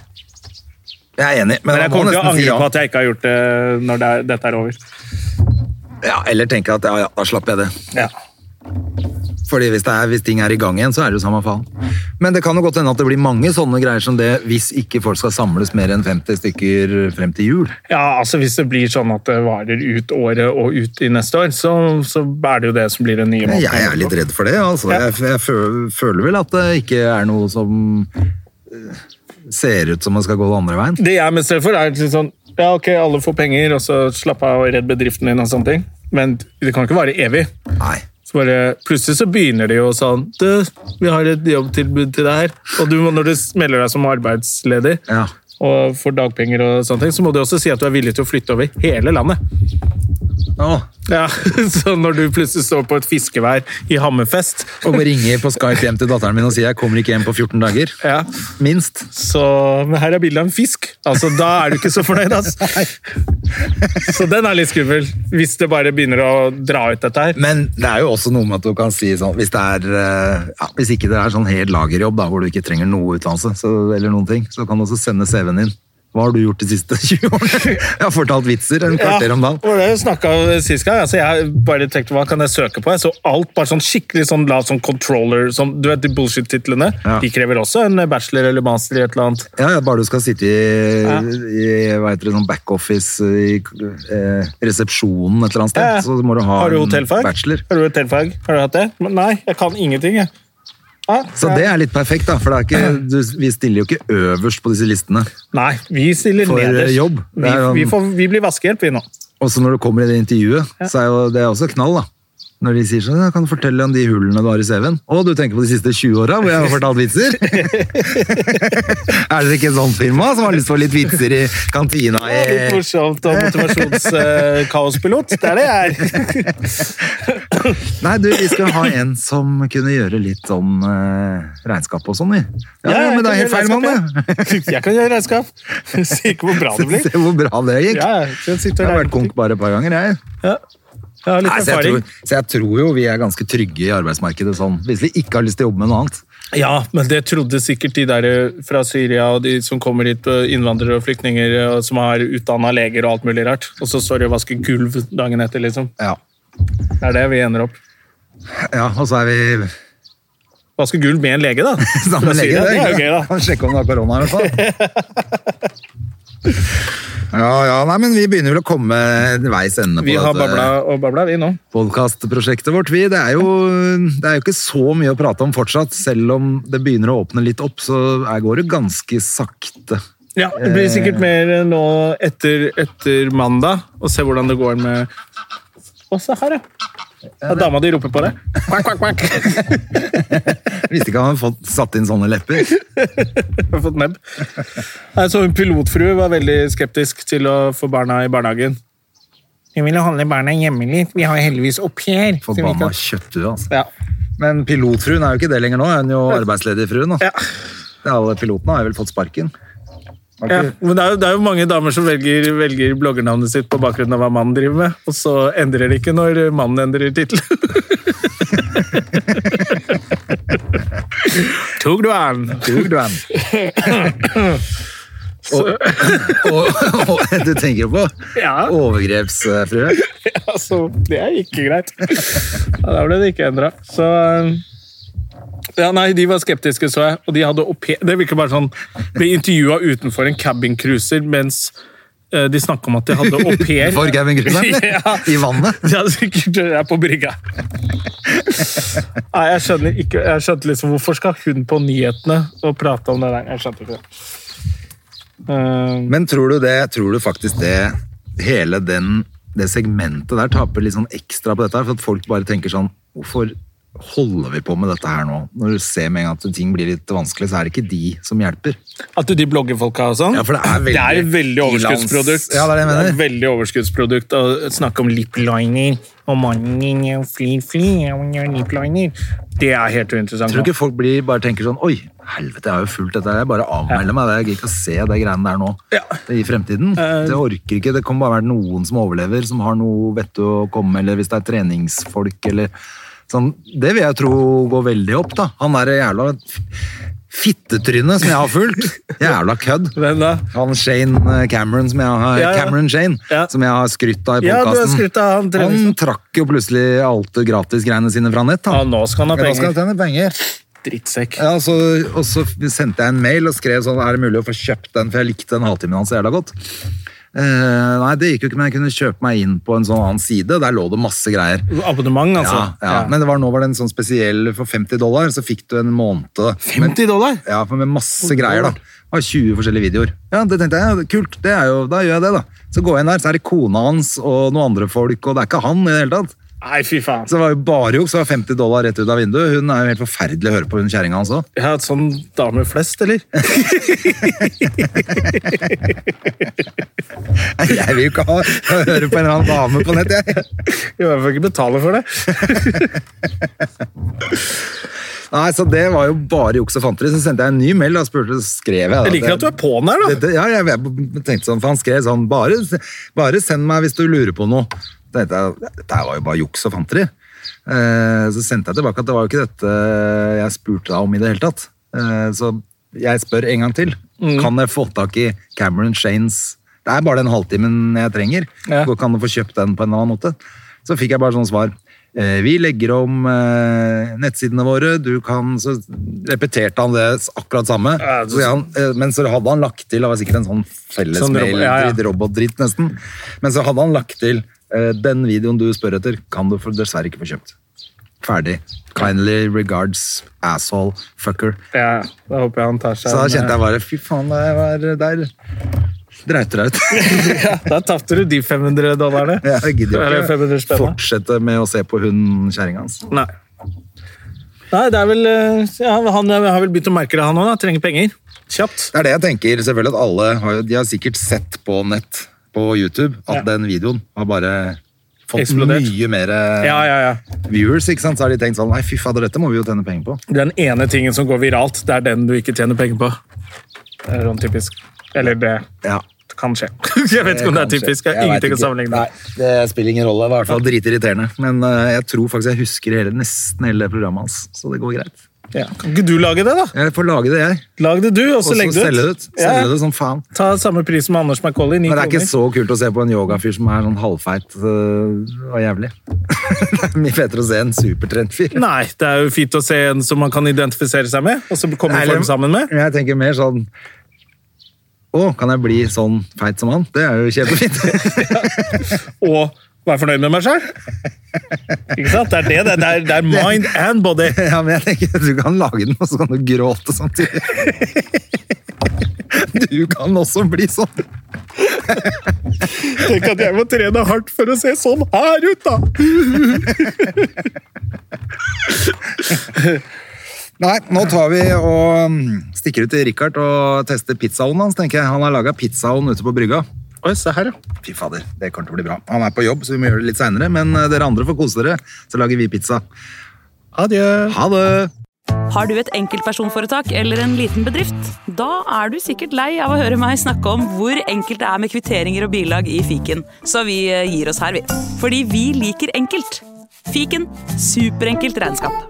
Speaker 1: Jeg er enig, men,
Speaker 2: Men
Speaker 1: man
Speaker 2: jeg
Speaker 1: må
Speaker 2: kommer til å
Speaker 1: nesten
Speaker 2: angre
Speaker 1: si ja.
Speaker 2: på at jeg ikke har gjort det når det er, dette er over.
Speaker 1: ja. Eller tenke at ja, ja, da slapp jeg det.
Speaker 2: Ja.
Speaker 1: Fordi hvis, det er, hvis ting er i gang igjen, så er det jo samme faen. Men det kan jo godt hende at det blir mange sånne greier som det, hvis ikke folk skal samles mer enn 50 stykker frem til jul.
Speaker 2: ja, altså Hvis det blir sånn at det varer ut året og ut i neste år, så, så er det jo det som blir den nye måten.
Speaker 1: Jeg er litt redd for det, altså.
Speaker 2: Ja.
Speaker 1: Jeg, jeg føler, føler vel at det ikke er noe som eh, ser ut som man skal gå den andre veien.
Speaker 2: Det jeg er mest redd for, er litt sånn Ja, ok, alle får penger, og så slapp av og redd bedriften din og sånne ting. Men det kan ikke vare evig.
Speaker 1: Nei.
Speaker 2: Så bare, plutselig så begynner de jo sånn Du, vi har et jobbtilbud til deg her. Og du må, når du melder deg som arbeidsledig
Speaker 1: Ja.
Speaker 2: og får dagpenger og sånne ting, så må du også si at du er villig til å flytte over hele landet.
Speaker 1: Å,
Speaker 2: Ja, Så når du plutselig står på et fiskevær i Hammerfest,
Speaker 1: og må ringe på Skype hjem til datteren min og si jeg kommer ikke hjem på 14 dager.
Speaker 2: ja,
Speaker 1: Minst.
Speaker 2: så Men her er bildet av en fisk. Altså, Da er du ikke så fornøyd, altså. Så den er litt skummel, hvis det bare begynner å dra ut dette her.
Speaker 1: Men det er jo også noe med at du kan si sånn Hvis, det er, eh, ja, hvis ikke det er sånn helt lagerjobb da, hvor du ikke trenger noe utdannelse så, eller noen ting, så kan du også sende CV-en din Hva har du gjort de siste 20 årene? Jeg har fortalt vitser en kvarter om dagen.
Speaker 2: Ja, det var det vi snakket sist gang. Altså, jeg bare tenkte, hva kan jeg søke på? Jeg så alt bare sånn skikkelig sånn lav sånn controller, sånn, du vet de bullshit-titlene.
Speaker 1: Ja.
Speaker 2: De krever også en bachelor eller master i et eller annet.
Speaker 1: Ja, ja, bare du skal sitte i,
Speaker 2: Ja.
Speaker 1: i hva heter det, sånn backoffice i eh, resepsjonen et eller annet sted,
Speaker 2: Ja, ja.
Speaker 1: så må du ha
Speaker 2: Eh, Har du
Speaker 1: en
Speaker 2: hotellfag?
Speaker 1: bachelor.
Speaker 2: Har du hotellfag? Har du hatt det? Men nei, jeg kan ingenting, jeg. Ah, Ja,
Speaker 1: Så det er litt perfekt, da, for det er ikke, du, vi stiller jo ikke øverst på disse listene.
Speaker 2: Nei, vi stiller
Speaker 1: For, eh,
Speaker 2: nederst.
Speaker 1: jobb. Det
Speaker 2: Vi,
Speaker 1: er jo en-
Speaker 2: vi, får, vi blir vaskehjelp, vi nå.
Speaker 1: Og så når du kommer i det intervjuet, så er jo det er også knall, da. Når de sier sånn, ja, kan du fortelle om de hullene du har i CV-en? Å, du tenker på de siste 20 åra hvor jeg har fortalt vitser? er dere ikke et sånt firma som har lyst på litt vitser i kantina i
Speaker 2: Litt morsomt og motivasjonskaospilot. Det er det jeg er.
Speaker 1: Nei, du, vi skulle ha en som kunne gjøre litt sånn eh, regnskap og sånn, vi. Ja, ja, men det er helt feil mann, det.
Speaker 2: det. Jeg kan gjøre regnskap. Sier ikke hvor bra det blir.
Speaker 1: Se hvor bra det gikk.
Speaker 2: Ja, jeg kan
Speaker 1: Jeg
Speaker 2: sitte og
Speaker 1: har vært
Speaker 2: regne på ting.
Speaker 1: konk bare et par ganger, jeg.
Speaker 2: Ja. Jeg har litt
Speaker 1: Nei, så, jeg
Speaker 2: erfaring.
Speaker 1: tror, så jeg tror jo vi er ganske trygge i arbeidsmarkedet sånn, hvis vi ikke har lyst til å jobbe med noe annet.
Speaker 2: Ja, men det trodde sikkert de der fra Syria og de som kommer hit, eh, innvandrere og flyktninger eh, som har utdanna leger og alt mulig rart. Og så står de og vasker gulv dagen etter, liksom.
Speaker 1: Ja,
Speaker 2: Det er det vi ender opp.
Speaker 1: ja og så er vi
Speaker 2: Vaske gulv med en lege, da.
Speaker 1: sammen
Speaker 2: Fra
Speaker 1: med lege.
Speaker 2: Syria,
Speaker 1: Det
Speaker 2: Det er jo gøy, da.
Speaker 1: Kan sjekke om det er korona i hvert fall. Ja, ja, nei, men vi begynner vel å komme veis ende på eh,
Speaker 2: Vi har
Speaker 1: dette
Speaker 2: babla og babla, vi nå.
Speaker 1: podcastprosjektet vårt. Vi, det, er jo, det er jo ikke så mye å prate om fortsatt, selv om det begynner å åpne litt opp, så er- går det ganske sakte.
Speaker 2: Ja, Det blir sikkert mer eh, nå etter, etter mandag, og se hvordan det går med Å, se her, ja. Ja, Dama di roper på deg. Kvakk, kvakk, kvakk.
Speaker 1: Jeg visste ikke han hadde fått satt inn sånne lepper.
Speaker 2: Jeg har fått nebb. Nei, så hun pilotfrue var veldig skeptisk til å få barna i barnehagen. Vi vil jo holde barna hjemme litt. Vi har heldigvis au pair. så vi
Speaker 1: Forbanna
Speaker 2: kan-
Speaker 1: kjøtthue, altså.
Speaker 2: Ja.
Speaker 1: Men pilotfruen er jo ikke det lenger nå, hun er jo arbeidsledig fruen. Da.
Speaker 2: Ja.
Speaker 1: Det er Alle pilotene har jo vel fått sparken. Har
Speaker 2: Ja.
Speaker 1: ikke-
Speaker 2: Men det er, jo, det er jo mange damer som velger, velger bloggernavnet sitt på bakgrunn av hva mannen driver med, og så endrer de ikke når mannen endrer tittel. Tok du den?
Speaker 1: Tor, du er med. Og, og, og du tenker på eh,
Speaker 2: Ja.
Speaker 1: overgrepsfrue?
Speaker 2: Altså, det er ikke greit. Ja, da ble det ikke endra. Så eh, ja, Nei, de var skeptiske, så jeg. Og de hadde au pair. Det virker bare sånn Ble intervjua utenfor en cabincruiser mens eh, de snakka om at de hadde au pair.
Speaker 1: For Gavin Grunnen?
Speaker 2: Ja.
Speaker 1: I vannet?
Speaker 2: Ja, sikkert. eh, Jeg er på brygga. Nei, jeg skjønner ikke jeg skjønte liksom, Hvorfor skal hun på nyhetene og prate om det der? Jeg skjønte ikke det. Um,
Speaker 1: Men tror du det, tror du faktisk det hele den, det segmentet der taper litt sånn ekstra på dette her, for at folk bare tenker sånn, hvorfor holder vi på med dette her nå? Når du ser med en gang at ting blir litt vanskelig, så er det ikke de som hjelper.
Speaker 2: at de bloggerfolka og sånn
Speaker 1: Ja, for det er veldig
Speaker 2: Det er et veldig overskuddsprodukt.
Speaker 1: ilans- Ja, det er det jeg mener.
Speaker 2: et veldig overskuddsprodukt å snakke om lipliner og mannen din er flir, flir, og han gjør lipliner. Det er helt uinteressant.
Speaker 1: Tror du ikke folk blir, bare tenker sånn, oi, helvete, jeg har jo fulgt dette her, jeg bare avmelder meg, jeg gidder ikke å se det greiene der nå
Speaker 2: Ja. Eh,
Speaker 1: Det i fremtiden. Det orker ikke, det kan bare være noen som overlever, som har noe vett å komme, eller hvis det er treningsfolk, eller sånn. Det vil jeg tro går veldig opp, da. Han der jævla fittetrynet som jeg har fulgt, jævla kødd.
Speaker 2: Hvem da?
Speaker 1: Han Shane eh, Cameron, som jeg har,
Speaker 2: Ja, ja.
Speaker 1: Cameron Shane,
Speaker 2: Ja.
Speaker 1: som jeg har skrytt av i
Speaker 2: Ja, du har
Speaker 1: podcasten.
Speaker 2: skrytt av han,
Speaker 1: han
Speaker 2: treningsmann.
Speaker 1: trakk jo plutselig alt det gratisgreiene sine fra nett,
Speaker 2: Ja,
Speaker 1: han.
Speaker 2: nå skal han ha
Speaker 1: Ja, da skal
Speaker 2: penger.
Speaker 1: han tjene penger.
Speaker 2: Drittsekk.
Speaker 1: Ja, og så, og så sendte jeg en mail og skrev sånn, er det mulig å få kjøpt den, for jeg likte den halvtimen hans så jævla godt. Eh, nei, det gikk jo ikke, men jeg kunne kjøpe meg inn på en sånn annen side, der lå det masse greier.
Speaker 2: Abonnement,
Speaker 1: Ja,
Speaker 2: altså.
Speaker 1: ja. men det var, nå var det en sånn spesiell, for 50 dollar, så fikk du en måned. Men-
Speaker 2: 50 dollar?
Speaker 1: ja, for med masse greier da. Det var 20 forskjellige videoer. Ja, det tenkte jeg, ja, kult, det er jo, da gjør jeg det da. Så går jeg inn der, så er det kona hans og noen andre folk, og det er ikke han i det hele tatt.
Speaker 2: Nei, fy faen.
Speaker 1: Så det var jo bare jo, så var 50 dollar rett ut av vinduet. Hun er jo helt forferdelig å høre på, hun kjæringen hans også.
Speaker 2: Jeg har hatt sånn damer flest, eller?
Speaker 1: Nei, Jeg vil jo ikke ha, høre på en eller annen dame på nett, jeg.
Speaker 2: I hvert fall ikke betale for det.
Speaker 1: Nei, så det var jo bare juks og fanteri. Så sendte jeg en ny mail og spurte, skrev jeg da,
Speaker 2: Jeg liker at du er på'n her, da.
Speaker 1: Dette, ja, jeg, jeg tenkte sånn, for han skrev sånn, bare, bare send meg hvis du lurer på noe. Så tenkte jeg, dette var jo bare juks og fanteri. Eh, så sendte jeg tilbake at det var jo ikke dette jeg spurte deg om i det hele tatt. Eh, så jeg spør en gang til.
Speaker 2: Mm.
Speaker 1: Kan jeg få tak i Cameron Shanes Det er bare den halvtimen jeg trenger.
Speaker 2: Ja.
Speaker 1: Går ikke an å få kjøpt den på en annen måte? Så fikk jeg bare sånn svar. Eh, Vi legger om eh, nettsidene våre, du kan Så repeterte han det s- akkurat samme.
Speaker 2: Ja, det-
Speaker 1: Så sier han, eh, men så hadde han lagt til Det var sikkert en sånn
Speaker 2: Sånn robot- ja, ja.
Speaker 1: fellesmail-dritt, robotdritt nesten. Men så hadde han lagt til eh, Den videoen du spør etter, kan du for- dessverre ikke få kjøpt. Ferdig. Kindly regards asshole fucker.
Speaker 2: Ja, da håper jeg han tar seg
Speaker 1: Så da
Speaker 2: en,
Speaker 1: kjente jeg bare Fy faen, jeg var der dreit dere ut.
Speaker 2: Da tapte du de 500 dollarene.
Speaker 1: Jeg gidder
Speaker 2: Eller
Speaker 1: jo
Speaker 2: 500
Speaker 1: ikke
Speaker 2: spenn, da.
Speaker 1: fortsette med å se på hun kjerringa hans.
Speaker 2: Nei. Nei, det er vel eh, ja, Han har vel begynt å merke det, han òg. Trenger penger. Kjapt.
Speaker 1: Det er det jeg tenker. Selvfølgelig at alle har, jo- de har sikkert sett på nett, på YouTube, at
Speaker 2: Ja.
Speaker 1: den videoen har bare fått
Speaker 2: Eksplodert.
Speaker 1: mye mer eh,
Speaker 2: Ja, ja, ja.
Speaker 1: viewers. ikke sant? Så har de tenkt sånn Nei, fy fader, dette må vi jo tjene penger på.
Speaker 2: Den ene tingen som går viralt, det er den du ikke tjener penger på.
Speaker 1: Eh,
Speaker 2: Det er Sånn typisk. Eller det
Speaker 1: Ja.
Speaker 2: kan skje. Jeg vet ikke om det er
Speaker 1: Kanskje.
Speaker 2: typisk.
Speaker 1: Jeg
Speaker 2: Jeg har
Speaker 1: vet
Speaker 2: ingenting å
Speaker 1: ikke.
Speaker 2: sammenligne.
Speaker 1: Nei, det spiller ingen rolle. Det var i hvert fall dritirriterende. Men eh, jeg tror faktisk jeg husker hele, nesten hele programmet hans, så det går greit.
Speaker 2: Ja. Kan ikke du lage det, da?
Speaker 1: Jeg får lage det, jeg.
Speaker 2: Lag det du, og så
Speaker 1: Og så
Speaker 2: legg det
Speaker 1: selge det ut.
Speaker 2: Ja.
Speaker 1: Selge det som faen.
Speaker 2: Ta samme pris som Anders Macauley. Ni
Speaker 1: Men det er
Speaker 2: kroner.
Speaker 1: ikke så kult å se på en yogafyr som er sånn halvfeit øh, og jævlig. det er mye fetere å se en supertrent fyr.
Speaker 2: Nei, det er jo fint å se en som man kan identifisere seg med, og så kommer
Speaker 1: Eller-
Speaker 2: form sammen med.
Speaker 1: Jeg tenker mer sånn Å, kan jeg bli sånn feit som han? Det er jo kjempefint.
Speaker 2: Og være fornøyd med meg sjøl. Ikke sant? Det er det. Det er, det er, det er mind and body.
Speaker 1: ja, men jeg tenker Du kan lage den, og så kan du gråte samtidig. du kan også bli sånn.
Speaker 2: Tenk at jeg må trene hardt for å se sånn her ut, da!
Speaker 1: Nei, nå tar vi og mm, stikker ut til Richard og tester pizzaovnen hans. tenker jeg. Han har laga pizzaovn ute på brygga.
Speaker 2: Oi, se her, ja.
Speaker 1: Fy fader, det kommer til å bli bra. Han er på jobb, så vi må gjøre det litt seinere. Men eh, dere andre får kose dere, så lager vi pizza.
Speaker 2: Adjø.
Speaker 1: Ha det!
Speaker 3: Har du et enkeltpersonforetak eller en liten bedrift? Da er du sikkert lei av å høre meg snakke om hvor enkelt det er med kvitteringer og bilag i fiken, så eh, vi gir oss her, vi. Fordi vi liker enkelt. Fiken superenkelt regnskap.